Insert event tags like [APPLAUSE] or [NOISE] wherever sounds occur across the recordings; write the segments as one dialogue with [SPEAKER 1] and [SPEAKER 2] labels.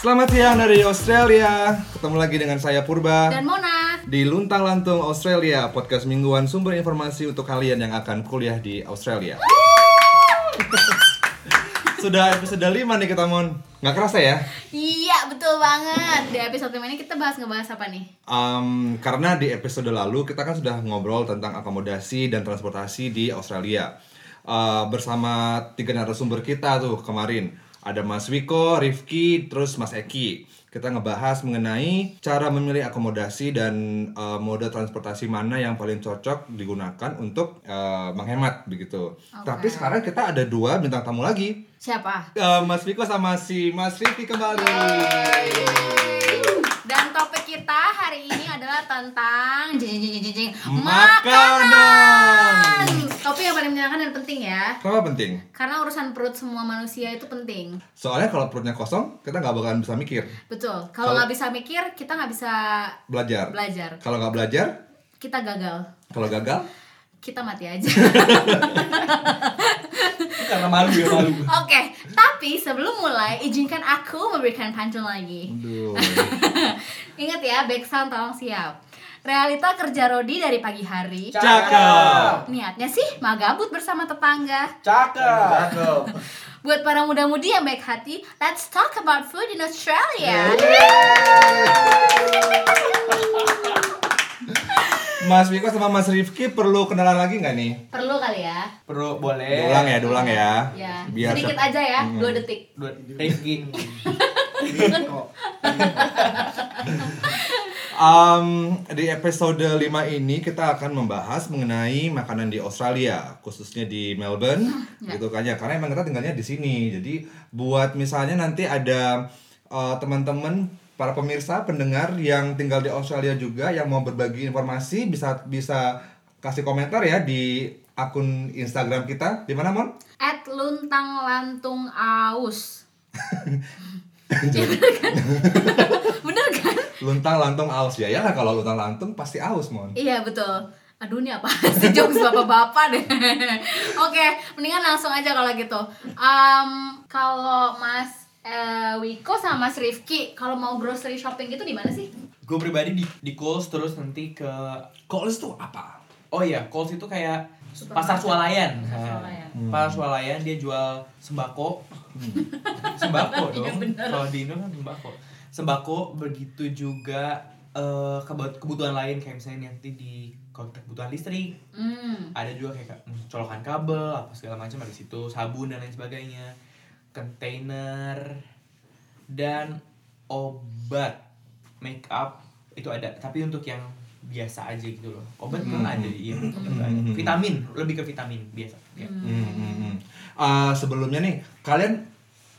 [SPEAKER 1] Selamat siang dari Australia. Ketemu lagi dengan saya Purba
[SPEAKER 2] dan Mona.
[SPEAKER 1] di Luntang Lantung Australia, podcast mingguan sumber informasi untuk kalian yang akan kuliah di Australia. [LAUGHS] Sudah episode 5 nih kita Mon. Nggak kerasa ya?
[SPEAKER 2] Iya, betul banget. Di episode ini kita bahas ngebahas apa nih?
[SPEAKER 1] Em, karena di episode lalu kita kan sudah ngobrol tentang akomodasi dan transportasi di Australia Eh, bersama tiga narasumber kita tuh kemarin ada Mas Wiko, Rifki, terus Mas Eki. Kita ngebahas mengenai cara memilih akomodasi dan eh, mode transportasi mana yang paling cocok digunakan untuk eh, menghemat begitu. Tapi sekarang kita ada dua bintang tamu lagi,
[SPEAKER 2] Siapa?
[SPEAKER 1] Eh, Mas Wiko sama si Mas Rifki kembali.
[SPEAKER 2] Dan topik kita hari ini adalah tentang jeng jeng jeng jeng, jeng
[SPEAKER 1] Makanan.
[SPEAKER 2] makanan. Topik yang paling menyenangkan dan penting ya.
[SPEAKER 1] Kenapa penting?
[SPEAKER 2] Karena urusan perut semua manusia itu penting.
[SPEAKER 1] Soalnya kalau perutnya kosong, kita nggak bakalan bisa mikir,
[SPEAKER 2] Betul. Kalau nggak bisa mikir, kita nggak bisa
[SPEAKER 1] belajar.
[SPEAKER 2] belajar.
[SPEAKER 1] Kalau nggak belajar,
[SPEAKER 2] Kita gagal.
[SPEAKER 1] kalau gagal,
[SPEAKER 2] Kita mati aja.
[SPEAKER 1] karena malu ya malu.
[SPEAKER 2] Oke, tapi sebelum mulai, izinkan aku memberikan pantun lagi.
[SPEAKER 1] Aduh.
[SPEAKER 2] [LAUGHS] Ingat ya, back sound tolong siap. Realita kerja Rodi dari pagi hari.
[SPEAKER 1] Cakep.
[SPEAKER 2] Niatnya sih magabut bersama tetangga.
[SPEAKER 3] Cakep.
[SPEAKER 4] Cakep.
[SPEAKER 2] Buat para muda-mudi yang baik hati, let's talk about food in Australia.
[SPEAKER 1] Mas Wiko sama Mas Rifki perlu kenalan lagi nggak nih?
[SPEAKER 2] Perlu kali ya?
[SPEAKER 3] Perlu boleh.
[SPEAKER 1] Diulang ya, diulang ya.
[SPEAKER 2] Ya.
[SPEAKER 1] Biar
[SPEAKER 2] Sedikit
[SPEAKER 1] siap-
[SPEAKER 2] aja ya, dua detik.
[SPEAKER 3] Dua, thank you.
[SPEAKER 4] Kok.
[SPEAKER 1] Um, di episode 5 ini kita akan membahas mengenai makanan di Australia, khususnya di Melbourne, gitu kan ya. Karena emang kita tinggalnya di sini. Jadi buat misalnya nanti ada uh, teman-teman para pemirsa pendengar yang tinggal di Australia juga yang mau berbagi informasi bisa bisa kasih komentar ya di akun Instagram kita. Di mana, Mon?
[SPEAKER 2] At luntang lantung aus. kan? [LAUGHS] Bener kan?
[SPEAKER 1] Luntang lantung aus ya. Ya lah, kalau luntang lantung pasti aus, Mon.
[SPEAKER 2] Iya betul. Aduh ini apa [LAUGHS] sih jokes bapak-bapak deh. [LAUGHS] Oke, mendingan langsung aja kalau gitu. Em, kalau Mas eh, Wiko sama Mas Rifki, kalau mau grocery shopping gitu di mana sih?
[SPEAKER 3] Gue pribadi di di Kohl's terus nanti ke
[SPEAKER 1] Calls itu apa?
[SPEAKER 3] Oh iya, Kohl's itu kayak
[SPEAKER 2] Supermarket.
[SPEAKER 3] pasar swalayan.
[SPEAKER 2] Pasar
[SPEAKER 3] Nah,
[SPEAKER 2] swalayan.
[SPEAKER 3] Pasar swalayan dia jual sembako. sembako
[SPEAKER 2] Hmm. Iya,
[SPEAKER 3] dong.
[SPEAKER 2] bener.
[SPEAKER 3] Kalau di Indo kan sembako. Sembako begitu juga eh, kebut- kebutuhan lain kayak misalnya nanti di kalau kebutuhan listrik
[SPEAKER 2] Hmm.
[SPEAKER 3] ada juga kayak ka- mm, colokan kabel apa segala macam ada di situ sabun dan lain sebagainya kontainer dan obat make up itu ada tapi untuk yang biasa aja gitu loh obat kan ada iya obat tuh ada.
[SPEAKER 1] Hmm.
[SPEAKER 3] vitamin lebih ke vitamin biasa ya.
[SPEAKER 1] Hmm, hmm, hmm. Eh, sebelumnya nih, kalian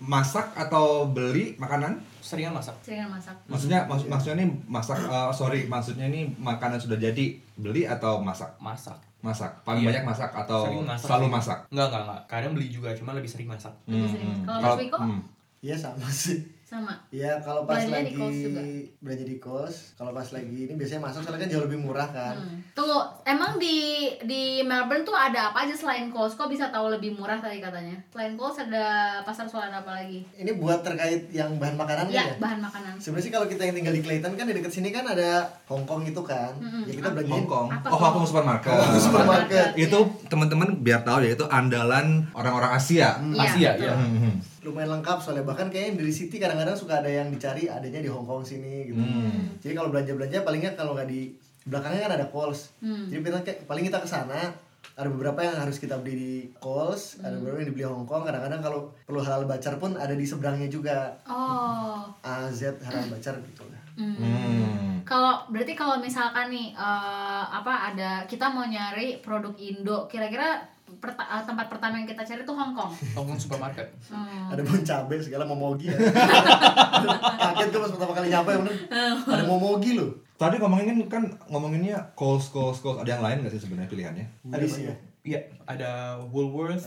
[SPEAKER 1] masak atau beli makanan?
[SPEAKER 3] seringan masak
[SPEAKER 2] Seringan masak.
[SPEAKER 1] Maksudnya maks- maksudnya nih masak eh, sorry, maksudnya ini makanan sudah jadi beli atau masak?
[SPEAKER 3] masak
[SPEAKER 1] Masak. Paling
[SPEAKER 3] Iya.
[SPEAKER 1] banyak masak atau
[SPEAKER 3] Sering masak
[SPEAKER 1] selalu
[SPEAKER 3] sih.
[SPEAKER 1] masak?
[SPEAKER 3] nggak nggak nggak kadang beli juga cuma lebih sering masak
[SPEAKER 2] Lebih
[SPEAKER 1] Hmm,
[SPEAKER 2] sering
[SPEAKER 1] hmm.
[SPEAKER 2] masak. Kalau Mas Wiko?
[SPEAKER 1] hmm.
[SPEAKER 4] Iya sama sih.
[SPEAKER 2] Sama.
[SPEAKER 4] Iya kalau pas
[SPEAKER 2] Belanjanya di
[SPEAKER 4] lagi
[SPEAKER 2] Kohl's juga.
[SPEAKER 4] belanja di kos, kalau pas lagi ini biasanya masuk soalnya kan jauh lebih murah kan.
[SPEAKER 2] Hmm. Tunggu, emang di di Melbourne tuh ada apa aja selain Coles? Kok bisa tahu lebih murah tadi katanya? Selain Coles ada pasar suara apa lagi?
[SPEAKER 4] Ini buat terkait yang bahan makanan kan
[SPEAKER 2] Hmm. Ya,
[SPEAKER 4] ya.
[SPEAKER 2] bahan makanan.
[SPEAKER 4] Sebenarnya sih kalau kita yang tinggal di Clayton kan di dekat sini kan ada Hongkong itu kan.
[SPEAKER 2] Mm-mm.
[SPEAKER 4] Ya kita belanja
[SPEAKER 1] Hong Kong.
[SPEAKER 2] Apa
[SPEAKER 1] Oh,
[SPEAKER 2] tuh?
[SPEAKER 1] Hongkong supermarket.
[SPEAKER 4] Hongkong supermarket.
[SPEAKER 1] Itu teman-teman biar tahu ya itu andalan orang-orang Asia.
[SPEAKER 3] Asia,
[SPEAKER 2] betul.
[SPEAKER 3] ya.
[SPEAKER 1] Hmm, hmm.
[SPEAKER 4] lumayan lengkap soalnya bahkan kayaknya dari city kadang-kadang suka ada yang dicari adanya di Hongkong sini gitu.
[SPEAKER 3] Hmm.
[SPEAKER 4] Jadi kalau belanja-belanja palingnya kalau nggak di belakangnya kan ada Kohl's.
[SPEAKER 2] Hmm.
[SPEAKER 4] Jadi kita kayak- paling kita ke sana ada beberapa yang harus kita beli di Kohl's, ada
[SPEAKER 2] Hmm.
[SPEAKER 4] beberapa yang dibeli Hong Kong. Kadang-kadang kalau perlu halal bacar pun ada di seberangnya juga
[SPEAKER 2] Oh.
[SPEAKER 4] AZ halal bacar gitu.
[SPEAKER 2] Hmm.
[SPEAKER 1] Hmm.
[SPEAKER 2] Kalau berarti kalau misalkan nih eh, apa ada kita mau nyari produk Indo, kira-kira perta- eh, tempat pertama yang kita cari tuh Hong Kong.
[SPEAKER 3] Hongkong supermarket
[SPEAKER 2] Hmm.
[SPEAKER 4] Ada bon cabe segala
[SPEAKER 2] [LAUGHS]
[SPEAKER 4] momogi ya. Kaget gue pas pertama kali nyampe bener.
[SPEAKER 2] Hmm.
[SPEAKER 4] Ada momogi loh.
[SPEAKER 1] Tadi ngomongin kan ngomonginnya calls calls calls ada yang lain nggak sih sebenarnya pilihannya?
[SPEAKER 4] Ada sih ya.
[SPEAKER 3] iya ada Woolworth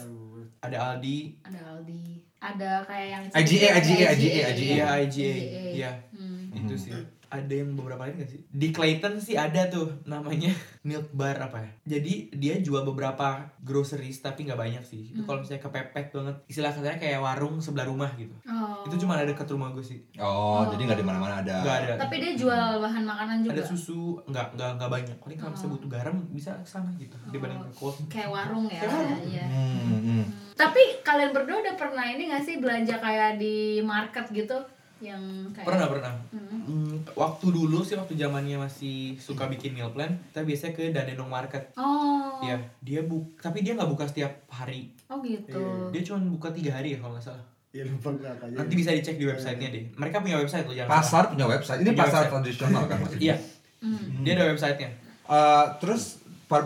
[SPEAKER 3] ada Aldi
[SPEAKER 2] Ada Aldi, ada kayak yang
[SPEAKER 1] IGA, IGA, IGA.
[SPEAKER 3] iya IGA
[SPEAKER 2] IGA.
[SPEAKER 3] iya
[SPEAKER 2] Hmm.
[SPEAKER 3] itu sih ada yang beberapa lain gak sih? Di Clayton sih ada tuh namanya [LAUGHS] milk bar apa ya. Jadi dia jual beberapa groceries tapi nggak banyak sih.
[SPEAKER 2] Mhm.
[SPEAKER 3] Itu kalau misalnya kepepet banget, istilah katanya kayak warung sebelah rumah gitu.
[SPEAKER 2] Oh.
[SPEAKER 3] Itu cuma ada dekat rumah gue sih.
[SPEAKER 1] Oh, jadi nggak di mana-mana ada.
[SPEAKER 3] Nggak ada.
[SPEAKER 2] Tapi dia jual bahan makanan juga. Oh.
[SPEAKER 3] Ada susu, nggak nggak nggak banyak. Paling kalau misalnya butuh garam bisa ke sana gitu. Dibanding ke Cold.
[SPEAKER 2] Kayak warung ya.
[SPEAKER 3] Kayak warung.
[SPEAKER 2] Iya.
[SPEAKER 1] Hmm, hmm.
[SPEAKER 2] Tapi kalian berdua udah pernah ini gak sih belanja kayak di market gitu yang kayak
[SPEAKER 3] Pernah pernah.
[SPEAKER 2] Hmm.
[SPEAKER 3] Hmm, waktu dulu sih waktu zamannya masih suka bikin meal plan, kita biasanya ke Dandenong Market.
[SPEAKER 2] Oh.
[SPEAKER 3] Iya, dia bu tapi dia nggak buka setiap hari.
[SPEAKER 2] Oh gitu.
[SPEAKER 3] Dia cuma buka tiga hari ya kalau nggak salah.
[SPEAKER 4] ya lupa gue apa aja.
[SPEAKER 3] Nanti bisa dicek di websitenya deh. Mereka punya website loh, jangan salah.
[SPEAKER 1] Pasar punya website. Ini
[SPEAKER 3] Punya
[SPEAKER 1] pasar
[SPEAKER 3] website.
[SPEAKER 1] tradisional kan maksudnya.
[SPEAKER 3] [LAUGHS] Iya,
[SPEAKER 2] Hmm.
[SPEAKER 3] dia ada websitenya.
[SPEAKER 1] Eh, terus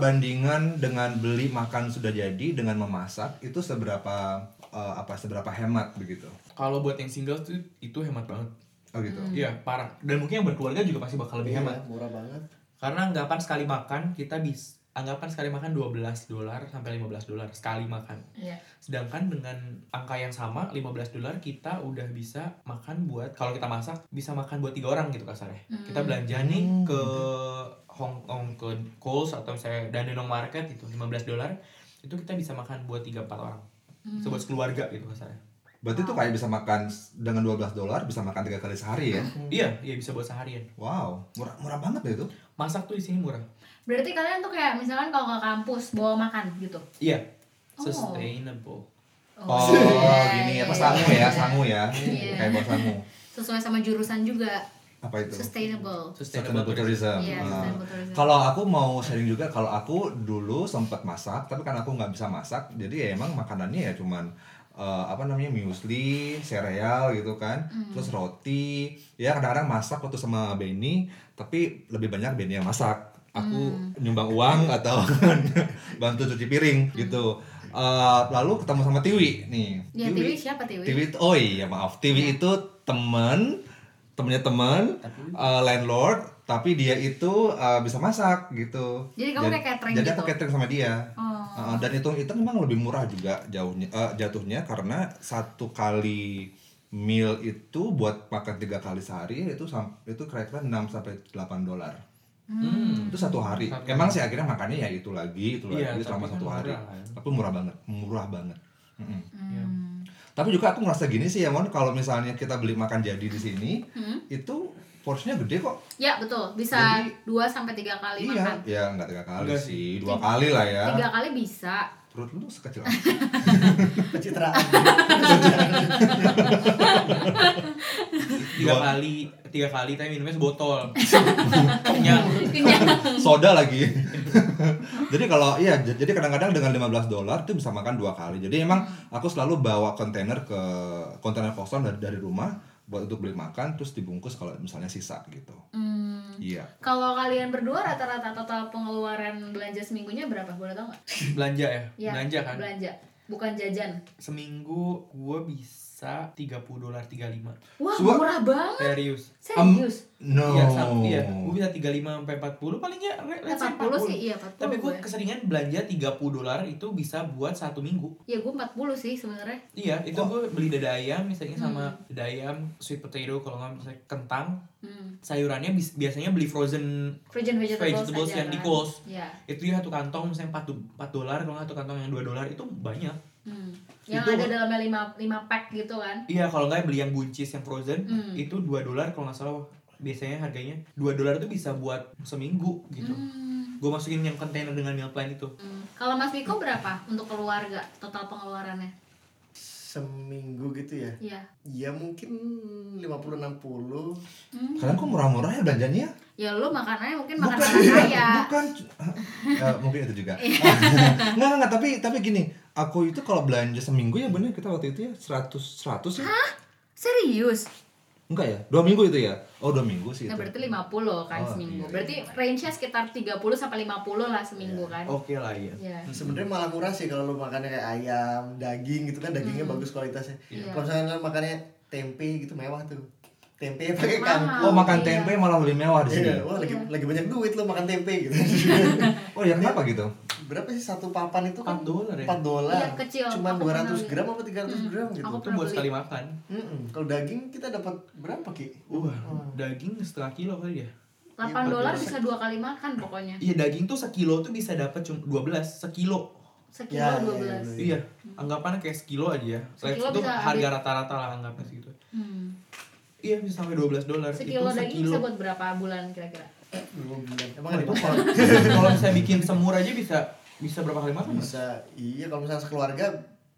[SPEAKER 1] perbandingan dengan beli makan sudah jadi dengan memasak itu seberapa eh, apa seberapa hemat begitu?
[SPEAKER 3] Kalau buat yang single tuh itu hemat banget.
[SPEAKER 1] Oh gitu.
[SPEAKER 3] Iya, parah. Dan mungkin yang berkeluarga juga pasti bakal lebih
[SPEAKER 4] Iya,
[SPEAKER 3] hemat.
[SPEAKER 4] murah banget.
[SPEAKER 3] Karena anggapan sekali makan kita bisa anggapan sekali makan 12 dolar sampai 15 dolar sekali makan.
[SPEAKER 2] Iya.
[SPEAKER 3] Sedangkan dengan angka yang sama 15 dolar kita udah bisa makan buat kalau kita masak bisa makan buat tiga orang gitu kasarnya. Kita belanja nih ke Hong Kong ke Coles atau misalnya Dandenong Market itu 15 dolar itu kita bisa makan buat 3 4 orang.
[SPEAKER 2] Hmm.
[SPEAKER 3] Sebuat keluarga gitu kasarnya.
[SPEAKER 1] Berarti tuh kayak bisa makan s- dengan 12 dolar bisa makan tiga kali sehari ya?
[SPEAKER 3] Iya, iya bisa buat seharian.
[SPEAKER 1] Wow, murah murah banget ya itu.
[SPEAKER 3] Masak tuh di sini murah.
[SPEAKER 2] Berarti kalian tuh kayak misalkan kalau ke kampus bawa makan gitu.
[SPEAKER 3] Iya.
[SPEAKER 2] Oh.
[SPEAKER 3] Sustainable.
[SPEAKER 1] Oh,
[SPEAKER 2] iya,
[SPEAKER 1] gini
[SPEAKER 2] iya,
[SPEAKER 1] apa
[SPEAKER 2] iya.
[SPEAKER 1] sangu ya, sangu ya.
[SPEAKER 2] Iya.
[SPEAKER 1] Kayak bawa sangu.
[SPEAKER 2] Sesuai sama jurusan juga.
[SPEAKER 1] Apa itu?
[SPEAKER 2] Sustainable.
[SPEAKER 1] Sustainable
[SPEAKER 3] tourism.
[SPEAKER 1] tourism. Ah.
[SPEAKER 2] Iya, sustainable tourism.
[SPEAKER 1] Kalau aku mau sharing juga, kalau aku dulu sempat masak, tapi kan aku nggak bisa masak, jadi ya emang makanannya ya cuman eh, apa namanya muesli, sereal gitu kan,
[SPEAKER 2] Hmm.
[SPEAKER 1] terus roti, ya kadang-kadang masak waktu sama Benny, tapi lebih banyak Benny yang masak. Aku
[SPEAKER 2] Hmm.
[SPEAKER 1] nyumbang uang atau [LAUGHS] bantu cuci piring gitu. Eh, lalu ketemu sama Tiwi nih.
[SPEAKER 2] Ya Tiwi siapa Tiwi?
[SPEAKER 1] Tiwi itu- oh iya maaf Tiwi itu temen temennya temen eh, landlord tapi dia itu eh, bisa masak gitu
[SPEAKER 2] Jadi kamu kayak catering
[SPEAKER 1] jadi aku
[SPEAKER 2] gitu?
[SPEAKER 1] catering sama dia
[SPEAKER 2] Oh.
[SPEAKER 1] Eh, dan hitung itu memang lebih murah juga jauhnya eh, jatuhnya karena satu kali meal itu buat makan tiga kali sehari itu sam- itu kira-kira 6 sampai 8 dolar itu
[SPEAKER 3] Hmm.
[SPEAKER 1] satu hari
[SPEAKER 3] Satu
[SPEAKER 1] emang sih akhirnya makannya ya itu lagi itu lagi
[SPEAKER 3] Iya,
[SPEAKER 1] selama
[SPEAKER 3] tapi kan
[SPEAKER 1] satu hari
[SPEAKER 3] murah kan.
[SPEAKER 1] tapi murah banget murah banget Mm-mm.
[SPEAKER 3] Iya.
[SPEAKER 1] Tapi juga aku ngerasa gini sih ya Mon, kalau misalnya kita beli makan jadi di sini, itu porsinya gede kok.
[SPEAKER 2] Ya betul, bisa
[SPEAKER 1] Jadi-
[SPEAKER 2] 2 sampai 3 kali
[SPEAKER 1] iya,
[SPEAKER 2] makan.
[SPEAKER 1] ya nggak tiga kali
[SPEAKER 3] Enggak
[SPEAKER 1] sih, dua kali lah ya.
[SPEAKER 2] 3 kali bisa.
[SPEAKER 1] Perut lu sekecil apa? [LAUGHS]
[SPEAKER 4] Pencitraan.
[SPEAKER 3] tiga
[SPEAKER 1] Dua-
[SPEAKER 3] kali tiga kali tapi minumnya
[SPEAKER 2] [LAUGHS]
[SPEAKER 3] sebotol
[SPEAKER 1] Ya.
[SPEAKER 3] Ya, kenyang
[SPEAKER 1] [LAUGHS]
[SPEAKER 2] Kenyang.
[SPEAKER 1] Soda lagi. jadi kalau iya, j- jadi kadang-kadang dengan 15 dolar itu bisa makan dua kali. Jadi emang
[SPEAKER 2] Mm.
[SPEAKER 1] aku selalu bawa kontainer ke kontainer kosong dari, dari rumah buat untuk beli makan terus dibungkus kalau misalnya sisa gitu.
[SPEAKER 2] Hmm.
[SPEAKER 1] Iya.
[SPEAKER 2] Kalau kalian berdua rata-rata total pengeluaran belanja seminggunya berapa? Boleh tau nggak?
[SPEAKER 3] belanja ya,
[SPEAKER 2] Ya,
[SPEAKER 3] belanja kan
[SPEAKER 2] Belanja, bukan jajan.
[SPEAKER 3] seminggu gue bisa 30 dolar 35
[SPEAKER 2] Wah
[SPEAKER 1] Suap.
[SPEAKER 2] murah banget.
[SPEAKER 3] serius
[SPEAKER 2] Serius.
[SPEAKER 1] No.
[SPEAKER 3] Iya, sam- iya. Gue bisa 35 sampai 40 paling ya re- let's say
[SPEAKER 2] 40 sih, iya 40
[SPEAKER 3] Tapi gue
[SPEAKER 2] gue.
[SPEAKER 3] keseringan belanja 30 dolar itu bisa buat satu minggu.
[SPEAKER 2] ya gue 40 sih sebenarnya.
[SPEAKER 3] Iya, itu
[SPEAKER 2] Oh.
[SPEAKER 3] gue beli dada ayam misalnya sama dada ayam, sweet potato kalau nggak misalnya kentang.
[SPEAKER 2] Hmm.
[SPEAKER 3] Sayurannya bis- biasanya beli frozen
[SPEAKER 2] Frozen vegetables,
[SPEAKER 3] Vegetables
[SPEAKER 2] aja
[SPEAKER 3] yang
[SPEAKER 2] kan.
[SPEAKER 3] di Kohl's.
[SPEAKER 2] Iya.
[SPEAKER 3] itu ya satu kantong misalnya 4, do- 4 dolar kalau nggak satu kantong yang 2 dolar itu banyak.
[SPEAKER 2] Hmm. Yang
[SPEAKER 3] Itu-
[SPEAKER 2] ada dalamnya 5 5 pack gitu kan.
[SPEAKER 3] Iya, kalau nggak beli yang buncis yang frozen
[SPEAKER 2] Hmm.
[SPEAKER 3] itu 2 dolar kalau nggak salah biasanya harganya 2 dolar itu bisa buat seminggu gitu.
[SPEAKER 2] Hmm.
[SPEAKER 3] Gue masukin yang kontainer dengan meal plan itu.
[SPEAKER 2] Hmm. Kalau Mas Miko berapa untuk keluarga total pengeluarannya?
[SPEAKER 4] Seminggu gitu ya.
[SPEAKER 2] Iya.
[SPEAKER 4] Ya mungkin 50 60.
[SPEAKER 1] Kalian kok murah-murah ya belanjanya?
[SPEAKER 2] Ya lu makanannya mungkin makan orang
[SPEAKER 3] [LAUGHS]
[SPEAKER 2] kaya.
[SPEAKER 1] [LAUGHS] bukan Ya, mungkin itu
[SPEAKER 2] [LAUGHS]
[SPEAKER 1] juga nggak nggak nggak, tapi tapi gini aku itu kalau belanja seminggu ya bener kita waktu itu ya 100 100 ya
[SPEAKER 2] Serius?
[SPEAKER 1] enggak ya dua minggu itu ya oh dua minggu sih itu
[SPEAKER 2] Ya berarti
[SPEAKER 3] Gitu.
[SPEAKER 2] 50 kan
[SPEAKER 1] Oh,
[SPEAKER 2] seminggu.
[SPEAKER 1] iya.
[SPEAKER 2] Berarti range-nya sekitar 30 sampai 50 lah seminggu kan.
[SPEAKER 3] Oke lah iya.
[SPEAKER 2] Iya.
[SPEAKER 4] Sebenarnya malah murah sih kalau lu makannya kayak ayam, daging gitu kan dagingnya
[SPEAKER 2] Hmm.
[SPEAKER 4] bagus kualitasnya.
[SPEAKER 2] Iya.
[SPEAKER 4] Kalau misalnya lu makannya tempe gitu mewah tuh. Tempe pakai
[SPEAKER 2] Mahal.
[SPEAKER 4] kangkung.
[SPEAKER 1] oh
[SPEAKER 2] ya.
[SPEAKER 1] makan tempe malah lebih mewah di sini
[SPEAKER 2] Iya. [LAUGHS]
[SPEAKER 4] Iya, wah lagi lagi banyak duit lo makan tempe gitu.
[SPEAKER 1] oh ya kenapa gitu
[SPEAKER 4] berapa sih satu papan itu
[SPEAKER 3] 4
[SPEAKER 4] kan
[SPEAKER 3] dolar ya?
[SPEAKER 4] 4 dolar.
[SPEAKER 2] Iya, kecil.
[SPEAKER 4] Cuman
[SPEAKER 2] Aku
[SPEAKER 4] 200
[SPEAKER 2] pernah
[SPEAKER 4] gram apa 300
[SPEAKER 2] Hmm.
[SPEAKER 4] gram gitu.
[SPEAKER 2] Aku
[SPEAKER 3] itu buat
[SPEAKER 2] beli.
[SPEAKER 3] sekali makan
[SPEAKER 4] Mm-mm. Kalau daging kita dapat berapa Ki?
[SPEAKER 3] wah
[SPEAKER 2] Oh.
[SPEAKER 3] daging setengah kilo kali
[SPEAKER 2] Eh.
[SPEAKER 3] ya
[SPEAKER 2] 8 dolar
[SPEAKER 3] Iya,
[SPEAKER 2] bisa dua kali makan pokoknya.
[SPEAKER 3] iya daging tuh sekilo tuh bisa dapat cuma 12 sekilo
[SPEAKER 4] Ya,
[SPEAKER 2] Sekilo
[SPEAKER 4] ya,
[SPEAKER 2] 12.
[SPEAKER 3] Iya,
[SPEAKER 4] ya,
[SPEAKER 3] anggapannya kayak sekilo aja ya. Like,
[SPEAKER 2] Sekilo
[SPEAKER 3] itu
[SPEAKER 2] bisa
[SPEAKER 3] harga
[SPEAKER 2] habis-
[SPEAKER 3] rata-rata lah anggapnya segitu.
[SPEAKER 2] Hmm.
[SPEAKER 3] Iya, bisa sampai 12 dolar.
[SPEAKER 2] Sekilo
[SPEAKER 3] itu
[SPEAKER 2] daging
[SPEAKER 3] sekilo.
[SPEAKER 2] bisa buat berapa bulan kira-kira?
[SPEAKER 4] Dua bulan. Emang
[SPEAKER 3] Wah,
[SPEAKER 4] ada
[SPEAKER 3] itu
[SPEAKER 4] apa?
[SPEAKER 3] kalau- Kalau misalnya bikin semur aja bisa bisa berapa kali makan? Mas?
[SPEAKER 4] Bisa. Iya, kalau misalnya sekeluarga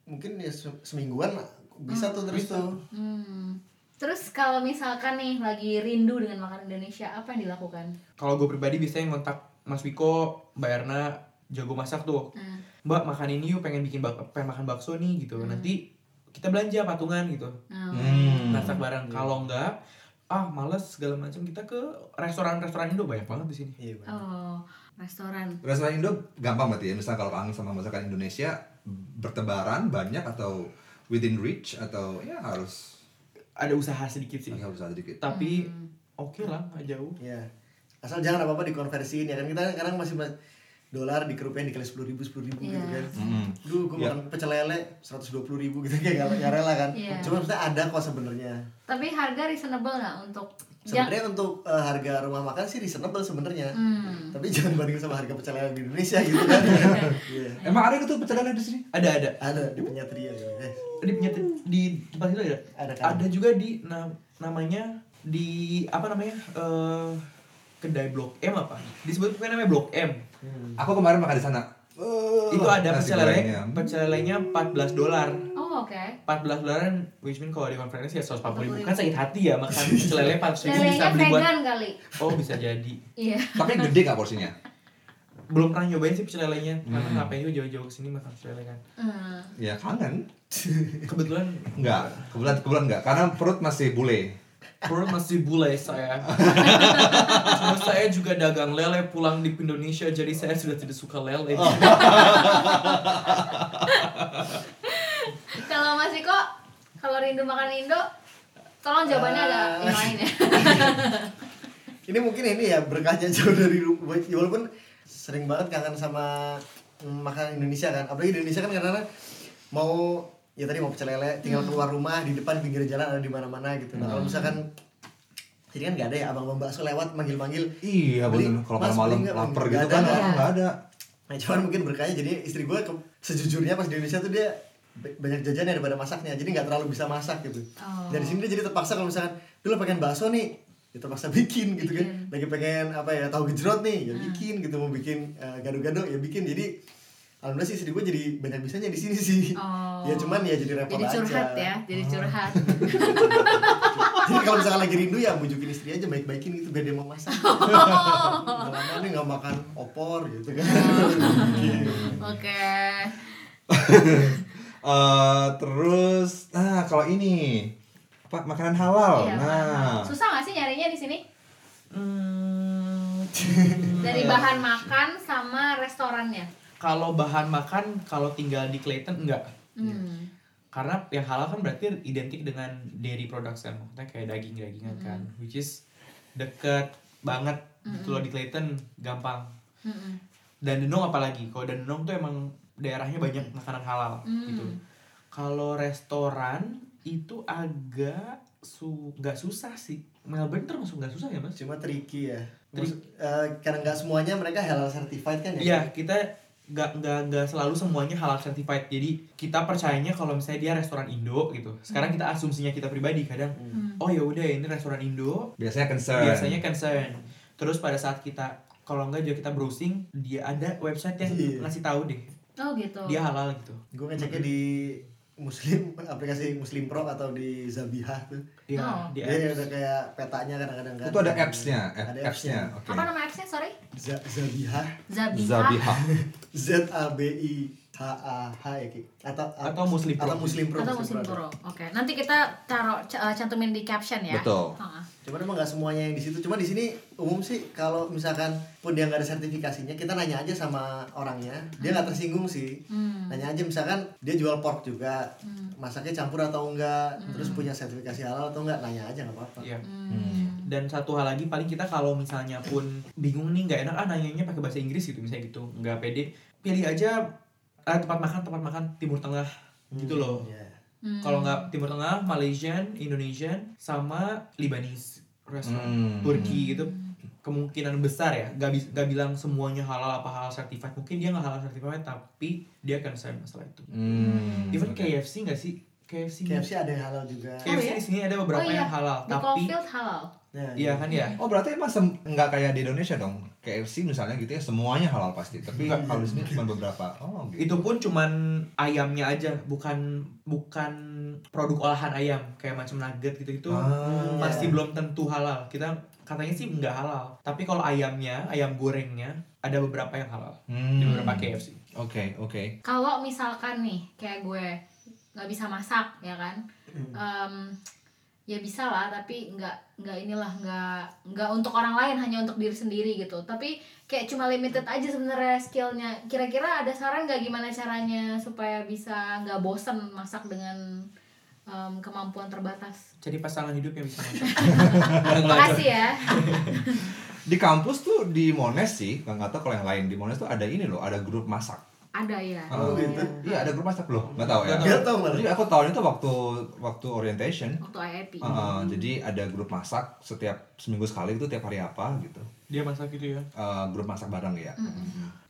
[SPEAKER 4] mungkin ya se- semingguan lah. bisa tuh terus tuh.
[SPEAKER 2] Hmm. Terus kalau misalkan nih lagi rindu dengan makanan Indonesia, apa yang dilakukan?
[SPEAKER 3] Kalau gue pribadi biasanya ngontak Mas Wiko, Mbak Erna, jago masak tuh.
[SPEAKER 2] Hmm.
[SPEAKER 3] Mbak makan ini yuk, pengen bikin bak pengen makan bakso nih gitu. Nanti kita belanja patungan gitu.
[SPEAKER 2] Hmm.
[SPEAKER 1] Hmm.
[SPEAKER 3] Masak bareng. Kalau enggak, ah males segala macam kita ke restoran-restoran Indo banyak banget di sini.
[SPEAKER 4] Iya. bener.
[SPEAKER 2] Oh, restoran.
[SPEAKER 1] Restoran Indo gampang berarti ya. Misalnya kalau kangen sama masakan Indonesia bertebaran banyak atau within reach atau ya harus
[SPEAKER 3] Ada usaha sedikit sih.
[SPEAKER 1] harus ada sedikit.
[SPEAKER 3] Tapi oke lah, nggak jauh.
[SPEAKER 4] Iya. Asal jangan apa-apa dikonversiin ya kan kita sekarang masih mas- dolar di kerupiah dikali sepuluh ribu sepuluh ribu gitu
[SPEAKER 2] Iya.
[SPEAKER 4] kan.
[SPEAKER 1] Mm-mm.
[SPEAKER 4] Duh, gue
[SPEAKER 1] Iya.
[SPEAKER 4] makan pecel lele seratus dua puluh ribu gitu kayak gak, gak rela kan.
[SPEAKER 2] Iya.
[SPEAKER 4] Cuma maksudnya ada kok sebenarnya.
[SPEAKER 2] Tapi harga reasonable nggak untuk yang
[SPEAKER 4] Sebenarnya untuk eh, harga rumah makan sih reasonable sebenarnya.
[SPEAKER 2] Hmm.
[SPEAKER 4] Tapi jangan bandingin sama harga pecel lele di Indonesia
[SPEAKER 2] [LAUGHS]
[SPEAKER 4] gitu kan. Iya.
[SPEAKER 1] Emang ada gitu pecel lele di sini?
[SPEAKER 3] Ada ada.
[SPEAKER 4] Ada di penyatria ya. Eh,
[SPEAKER 3] Di penyet- di tempat itu ada.
[SPEAKER 4] Ada kan?
[SPEAKER 3] Ada juga di na- namanya di apa namanya? eh kedai Blok M apa? Disebut bukan namanya Blok M.
[SPEAKER 4] Hmm.
[SPEAKER 1] Aku kemarin makan di sana. Eh,
[SPEAKER 3] itu ada
[SPEAKER 1] nasi
[SPEAKER 3] pecel lele,
[SPEAKER 1] gorengnya. Hmm.
[SPEAKER 3] pecel lelenya 14 dolar.
[SPEAKER 2] Oh, oke.
[SPEAKER 3] 14 dolar which mean kalau di konferensi ya 140 ribu. Kan sakit hati ya makan pecel lele 400 ribu bisa
[SPEAKER 2] Lelenya
[SPEAKER 3] beli buat
[SPEAKER 2] vegan kali.
[SPEAKER 3] Oh, bisa jadi.
[SPEAKER 2] Iya.
[SPEAKER 1] Tapi gede gak porsinya?
[SPEAKER 3] Belum pernah nyobain sih pecel lelenya. Karena ngapain juga jauh-jauh ke sini makan pecel lele kan.
[SPEAKER 2] Hmm.
[SPEAKER 1] Ya kangen.
[SPEAKER 3] Kebetulan
[SPEAKER 1] Enggak, kebetulan kebetulan enggak karena perut masih bule.
[SPEAKER 3] Perut masih bule saya. Cuma saya juga dagang lele pulang di Indonesia jadi saya sudah tidak suka lele.
[SPEAKER 2] Kalau Mas Iko, kalau rindu makan Indo, tolong jawabannya ada yang lain ya.
[SPEAKER 4] Ini mungkin ini ya berkahnya jauh dari rumah. Walaupun sering banget kangen sama mm, makanan Indonesia kan. Apalagi di Indonesia kan karena mau ya tadi mau pecel lele tinggal keluar rumah di depan pinggir jalan ada di mana-mana gitu. Nah, kalau misalkan jadi kan gak ada ya abang-abang bakso lewat manggil-manggil
[SPEAKER 1] Iya,
[SPEAKER 4] Beli,
[SPEAKER 1] bener. Kalau
[SPEAKER 4] Mas,
[SPEAKER 1] malam-malam
[SPEAKER 4] beli nggak?
[SPEAKER 1] lapar
[SPEAKER 4] Nggak
[SPEAKER 1] gitu
[SPEAKER 4] ada,
[SPEAKER 1] kan
[SPEAKER 4] nggak
[SPEAKER 2] ada.
[SPEAKER 1] orang enggak ada.
[SPEAKER 4] Nah, cuman mungkin berkahnya jadi istri gue ke, sejujurnya pas di Indonesia tuh dia ba- banyak jajannya daripada masaknya jadi nggak terlalu bisa masak gitu
[SPEAKER 2] Oh.
[SPEAKER 4] dari sini dia jadi terpaksa kalau misalkan dulu pengen bakso nih dia terpaksa bikin gitu kan
[SPEAKER 2] Bikin. Hmm.
[SPEAKER 4] lagi pengen apa ya tahu gejrot nih ya bikin gitu mau bikin eh, gado-gado ya bikin jadi alhamdulillah sih istri gue jadi banyak bisanya di sini sih
[SPEAKER 2] Oh.
[SPEAKER 4] ya cuman ya jadi repot
[SPEAKER 2] Jadi
[SPEAKER 4] aja Hmm.
[SPEAKER 2] curhat ya, jadi
[SPEAKER 4] [LAUGHS]
[SPEAKER 2] curhat.
[SPEAKER 4] jadi kalau misalkan lagi rindu ya bujukin istri aja baik-baikin gitu biar dia mau [LAUGHS] masak lama nih nggak makan opor gitu [LAUGHS] kan
[SPEAKER 2] Oke.
[SPEAKER 1] Eh, terus nah kalau ini apa makanan
[SPEAKER 4] Oh,
[SPEAKER 1] halal.
[SPEAKER 2] Iya,
[SPEAKER 1] nah,
[SPEAKER 2] makan. Susah nggak sih nyarinya di sini?
[SPEAKER 3] Hmm,
[SPEAKER 2] Dari
[SPEAKER 1] Iya.
[SPEAKER 2] bahan makan sama restorannya.
[SPEAKER 3] kalau bahan makan kalau tinggal di Clayton enggak.
[SPEAKER 1] Iya.
[SPEAKER 2] Hmm.
[SPEAKER 3] Karena yang halal kan berarti identik dengan dairy products kan. Maksudnya kayak daging-dagingan kan.
[SPEAKER 2] Hmm.
[SPEAKER 3] Which is deket banget kalau di Clayton gampang.
[SPEAKER 2] Mm-mm.
[SPEAKER 3] Dan Denong apalagi. Kalau Denong tuh emang daerahnya banyak makanan halal
[SPEAKER 2] Hmm.
[SPEAKER 3] gitu. Kalau restoran itu agak su nggak susah sih. Melbourne termasuk nggak susah ya mas?
[SPEAKER 4] cuma tricky ya
[SPEAKER 3] Tricky.
[SPEAKER 4] Maksud, eh, karena nggak semuanya mereka halal certified kan ya
[SPEAKER 3] Iya kita nggak nggak nggak selalu semuanya halal certified. Jadi kita percayanya kalau misalnya dia restoran Indo gitu.
[SPEAKER 2] Hmm.
[SPEAKER 3] Sekarang kita asumsinya kita pribadi kadang. Oh ya udah ini restoran Indo.
[SPEAKER 1] biasanya concern.
[SPEAKER 3] Biasanya concern. Terus pada saat kita kalau enggak juga kita browsing dia ada website yang
[SPEAKER 4] Iya.
[SPEAKER 3] ngasih tahu deh
[SPEAKER 2] Oh gitu.
[SPEAKER 3] dia halal gitu.
[SPEAKER 4] gue ngeceknya di muslim aplikasi muslim pro atau di zabiha tuh
[SPEAKER 3] Dia
[SPEAKER 2] Oh.
[SPEAKER 3] di
[SPEAKER 4] dia
[SPEAKER 3] apps.
[SPEAKER 4] udah kayak petanya kadang-kadang kan
[SPEAKER 1] Itu ada apps-nya, app-
[SPEAKER 3] eh,
[SPEAKER 4] ada
[SPEAKER 1] apps-nya.
[SPEAKER 4] apps-nya
[SPEAKER 1] Oke.
[SPEAKER 2] Apa nama apps-nya? Sorry.
[SPEAKER 4] Z- zabiha
[SPEAKER 2] Zabiha.
[SPEAKER 1] Zabiha.
[SPEAKER 4] z a b i h a h ya ki atau
[SPEAKER 3] Atau Muslim Pro.
[SPEAKER 4] atau muslim pro
[SPEAKER 2] Atau musim
[SPEAKER 4] Pro ada.
[SPEAKER 2] Pro. Oke. Nanti kita taruh c- eh, cantumin di caption ya.
[SPEAKER 1] Betul.
[SPEAKER 2] Heeh.
[SPEAKER 4] Cuman emang nggak semuanya yang di situ. Cuma di sini umum sih kalau misalkan pun dia nggak ada sertifikasinya, kita nanya aja sama orangnya, dia nggak tersinggung sih.
[SPEAKER 2] Hmm.
[SPEAKER 4] Nanya aja misalkan dia jual pork juga, masaknya campur atau enggak, terus punya sertifikasi halal atau enggak, nanya aja nggak apa-apa.
[SPEAKER 3] Iya.
[SPEAKER 1] Hmm.
[SPEAKER 3] dan satu hal lagi paling kita kalau misalnya pun bingung nih nggak enak ah nanyanya pakai bahasa Inggris gitu misalnya gitu nggak pede pilih aja eh, tempat makan tempat makan timur tengah gitu loh
[SPEAKER 4] Iya.
[SPEAKER 2] Hmm.
[SPEAKER 3] kalau nggak timur tengah Malaysian Indonesian sama Lebanese
[SPEAKER 1] Hmm.
[SPEAKER 3] restaurant Turki gitu kemungkinan besar ya gak, bis- gak bilang semuanya halal apa halal certified mungkin dia nggak halal certified tapi dia concern masalah itu
[SPEAKER 1] Hmm.
[SPEAKER 3] even
[SPEAKER 1] oke.
[SPEAKER 3] KFC nggak sih KFC nggak?
[SPEAKER 4] KFC ada yang halal juga.
[SPEAKER 3] KFC
[SPEAKER 2] Oh, iya?
[SPEAKER 3] di sini ada beberapa
[SPEAKER 2] Oh, iya.
[SPEAKER 3] yang halal
[SPEAKER 2] Di
[SPEAKER 3] tapi
[SPEAKER 2] Caulfield halal.
[SPEAKER 4] Nah,
[SPEAKER 3] iya kan ya
[SPEAKER 1] Oh berarti emang sem- nggak kayak di Indonesia dong KFC misalnya gitu ya semuanya halal pasti tapi
[SPEAKER 3] Iya.
[SPEAKER 1] nggak kalau di sini cuma beberapa oh gitu
[SPEAKER 3] itu pun cuman ayamnya aja bukan bukan produk olahan ayam kayak macam nugget gitu gitu
[SPEAKER 1] Ah.
[SPEAKER 3] pasti belum tentu halal kita katanya sih nggak halal tapi kalau ayamnya ayam gorengnya ada beberapa yang halal
[SPEAKER 1] Hmm.
[SPEAKER 3] di beberapa KFC
[SPEAKER 1] Oke oke
[SPEAKER 2] Kalau misalkan nih kayak gue nggak bisa masak ya kan,
[SPEAKER 3] Hmm.
[SPEAKER 2] Em, ya bisa lah tapi nggak nggak inilah nggak nggak untuk orang lain hanya untuk diri sendiri gitu. Tapi kayak cuma limited aja sebenarnya skillnya. Kira-kira ada saran nggak gimana caranya supaya bisa nggak bosen masak dengan em, kemampuan terbatas?
[SPEAKER 3] jadi pasangan hidup yang bisa [LAUGHS] masak Nah,
[SPEAKER 2] Makasih ya. [LAUGHS]
[SPEAKER 1] di kampus tuh di Mones sih nggak nggak tahu kalau yang lain di Mones tuh ada ini loh ada grup masak
[SPEAKER 2] Ada ya.
[SPEAKER 3] Ah,
[SPEAKER 1] Oh,
[SPEAKER 4] gitu.
[SPEAKER 1] iya ada grup masak loh nggak tahu ya
[SPEAKER 4] Nggak tahu, Mar.
[SPEAKER 1] jadi aku tahun itu waktu waktu orientation
[SPEAKER 2] Waktu IIP.
[SPEAKER 3] Ah.
[SPEAKER 1] Uh, jadi ada grup masak setiap seminggu sekali itu tiap hari apa gitu
[SPEAKER 3] dia masak gitu ya
[SPEAKER 1] Uh, grup masak bareng ya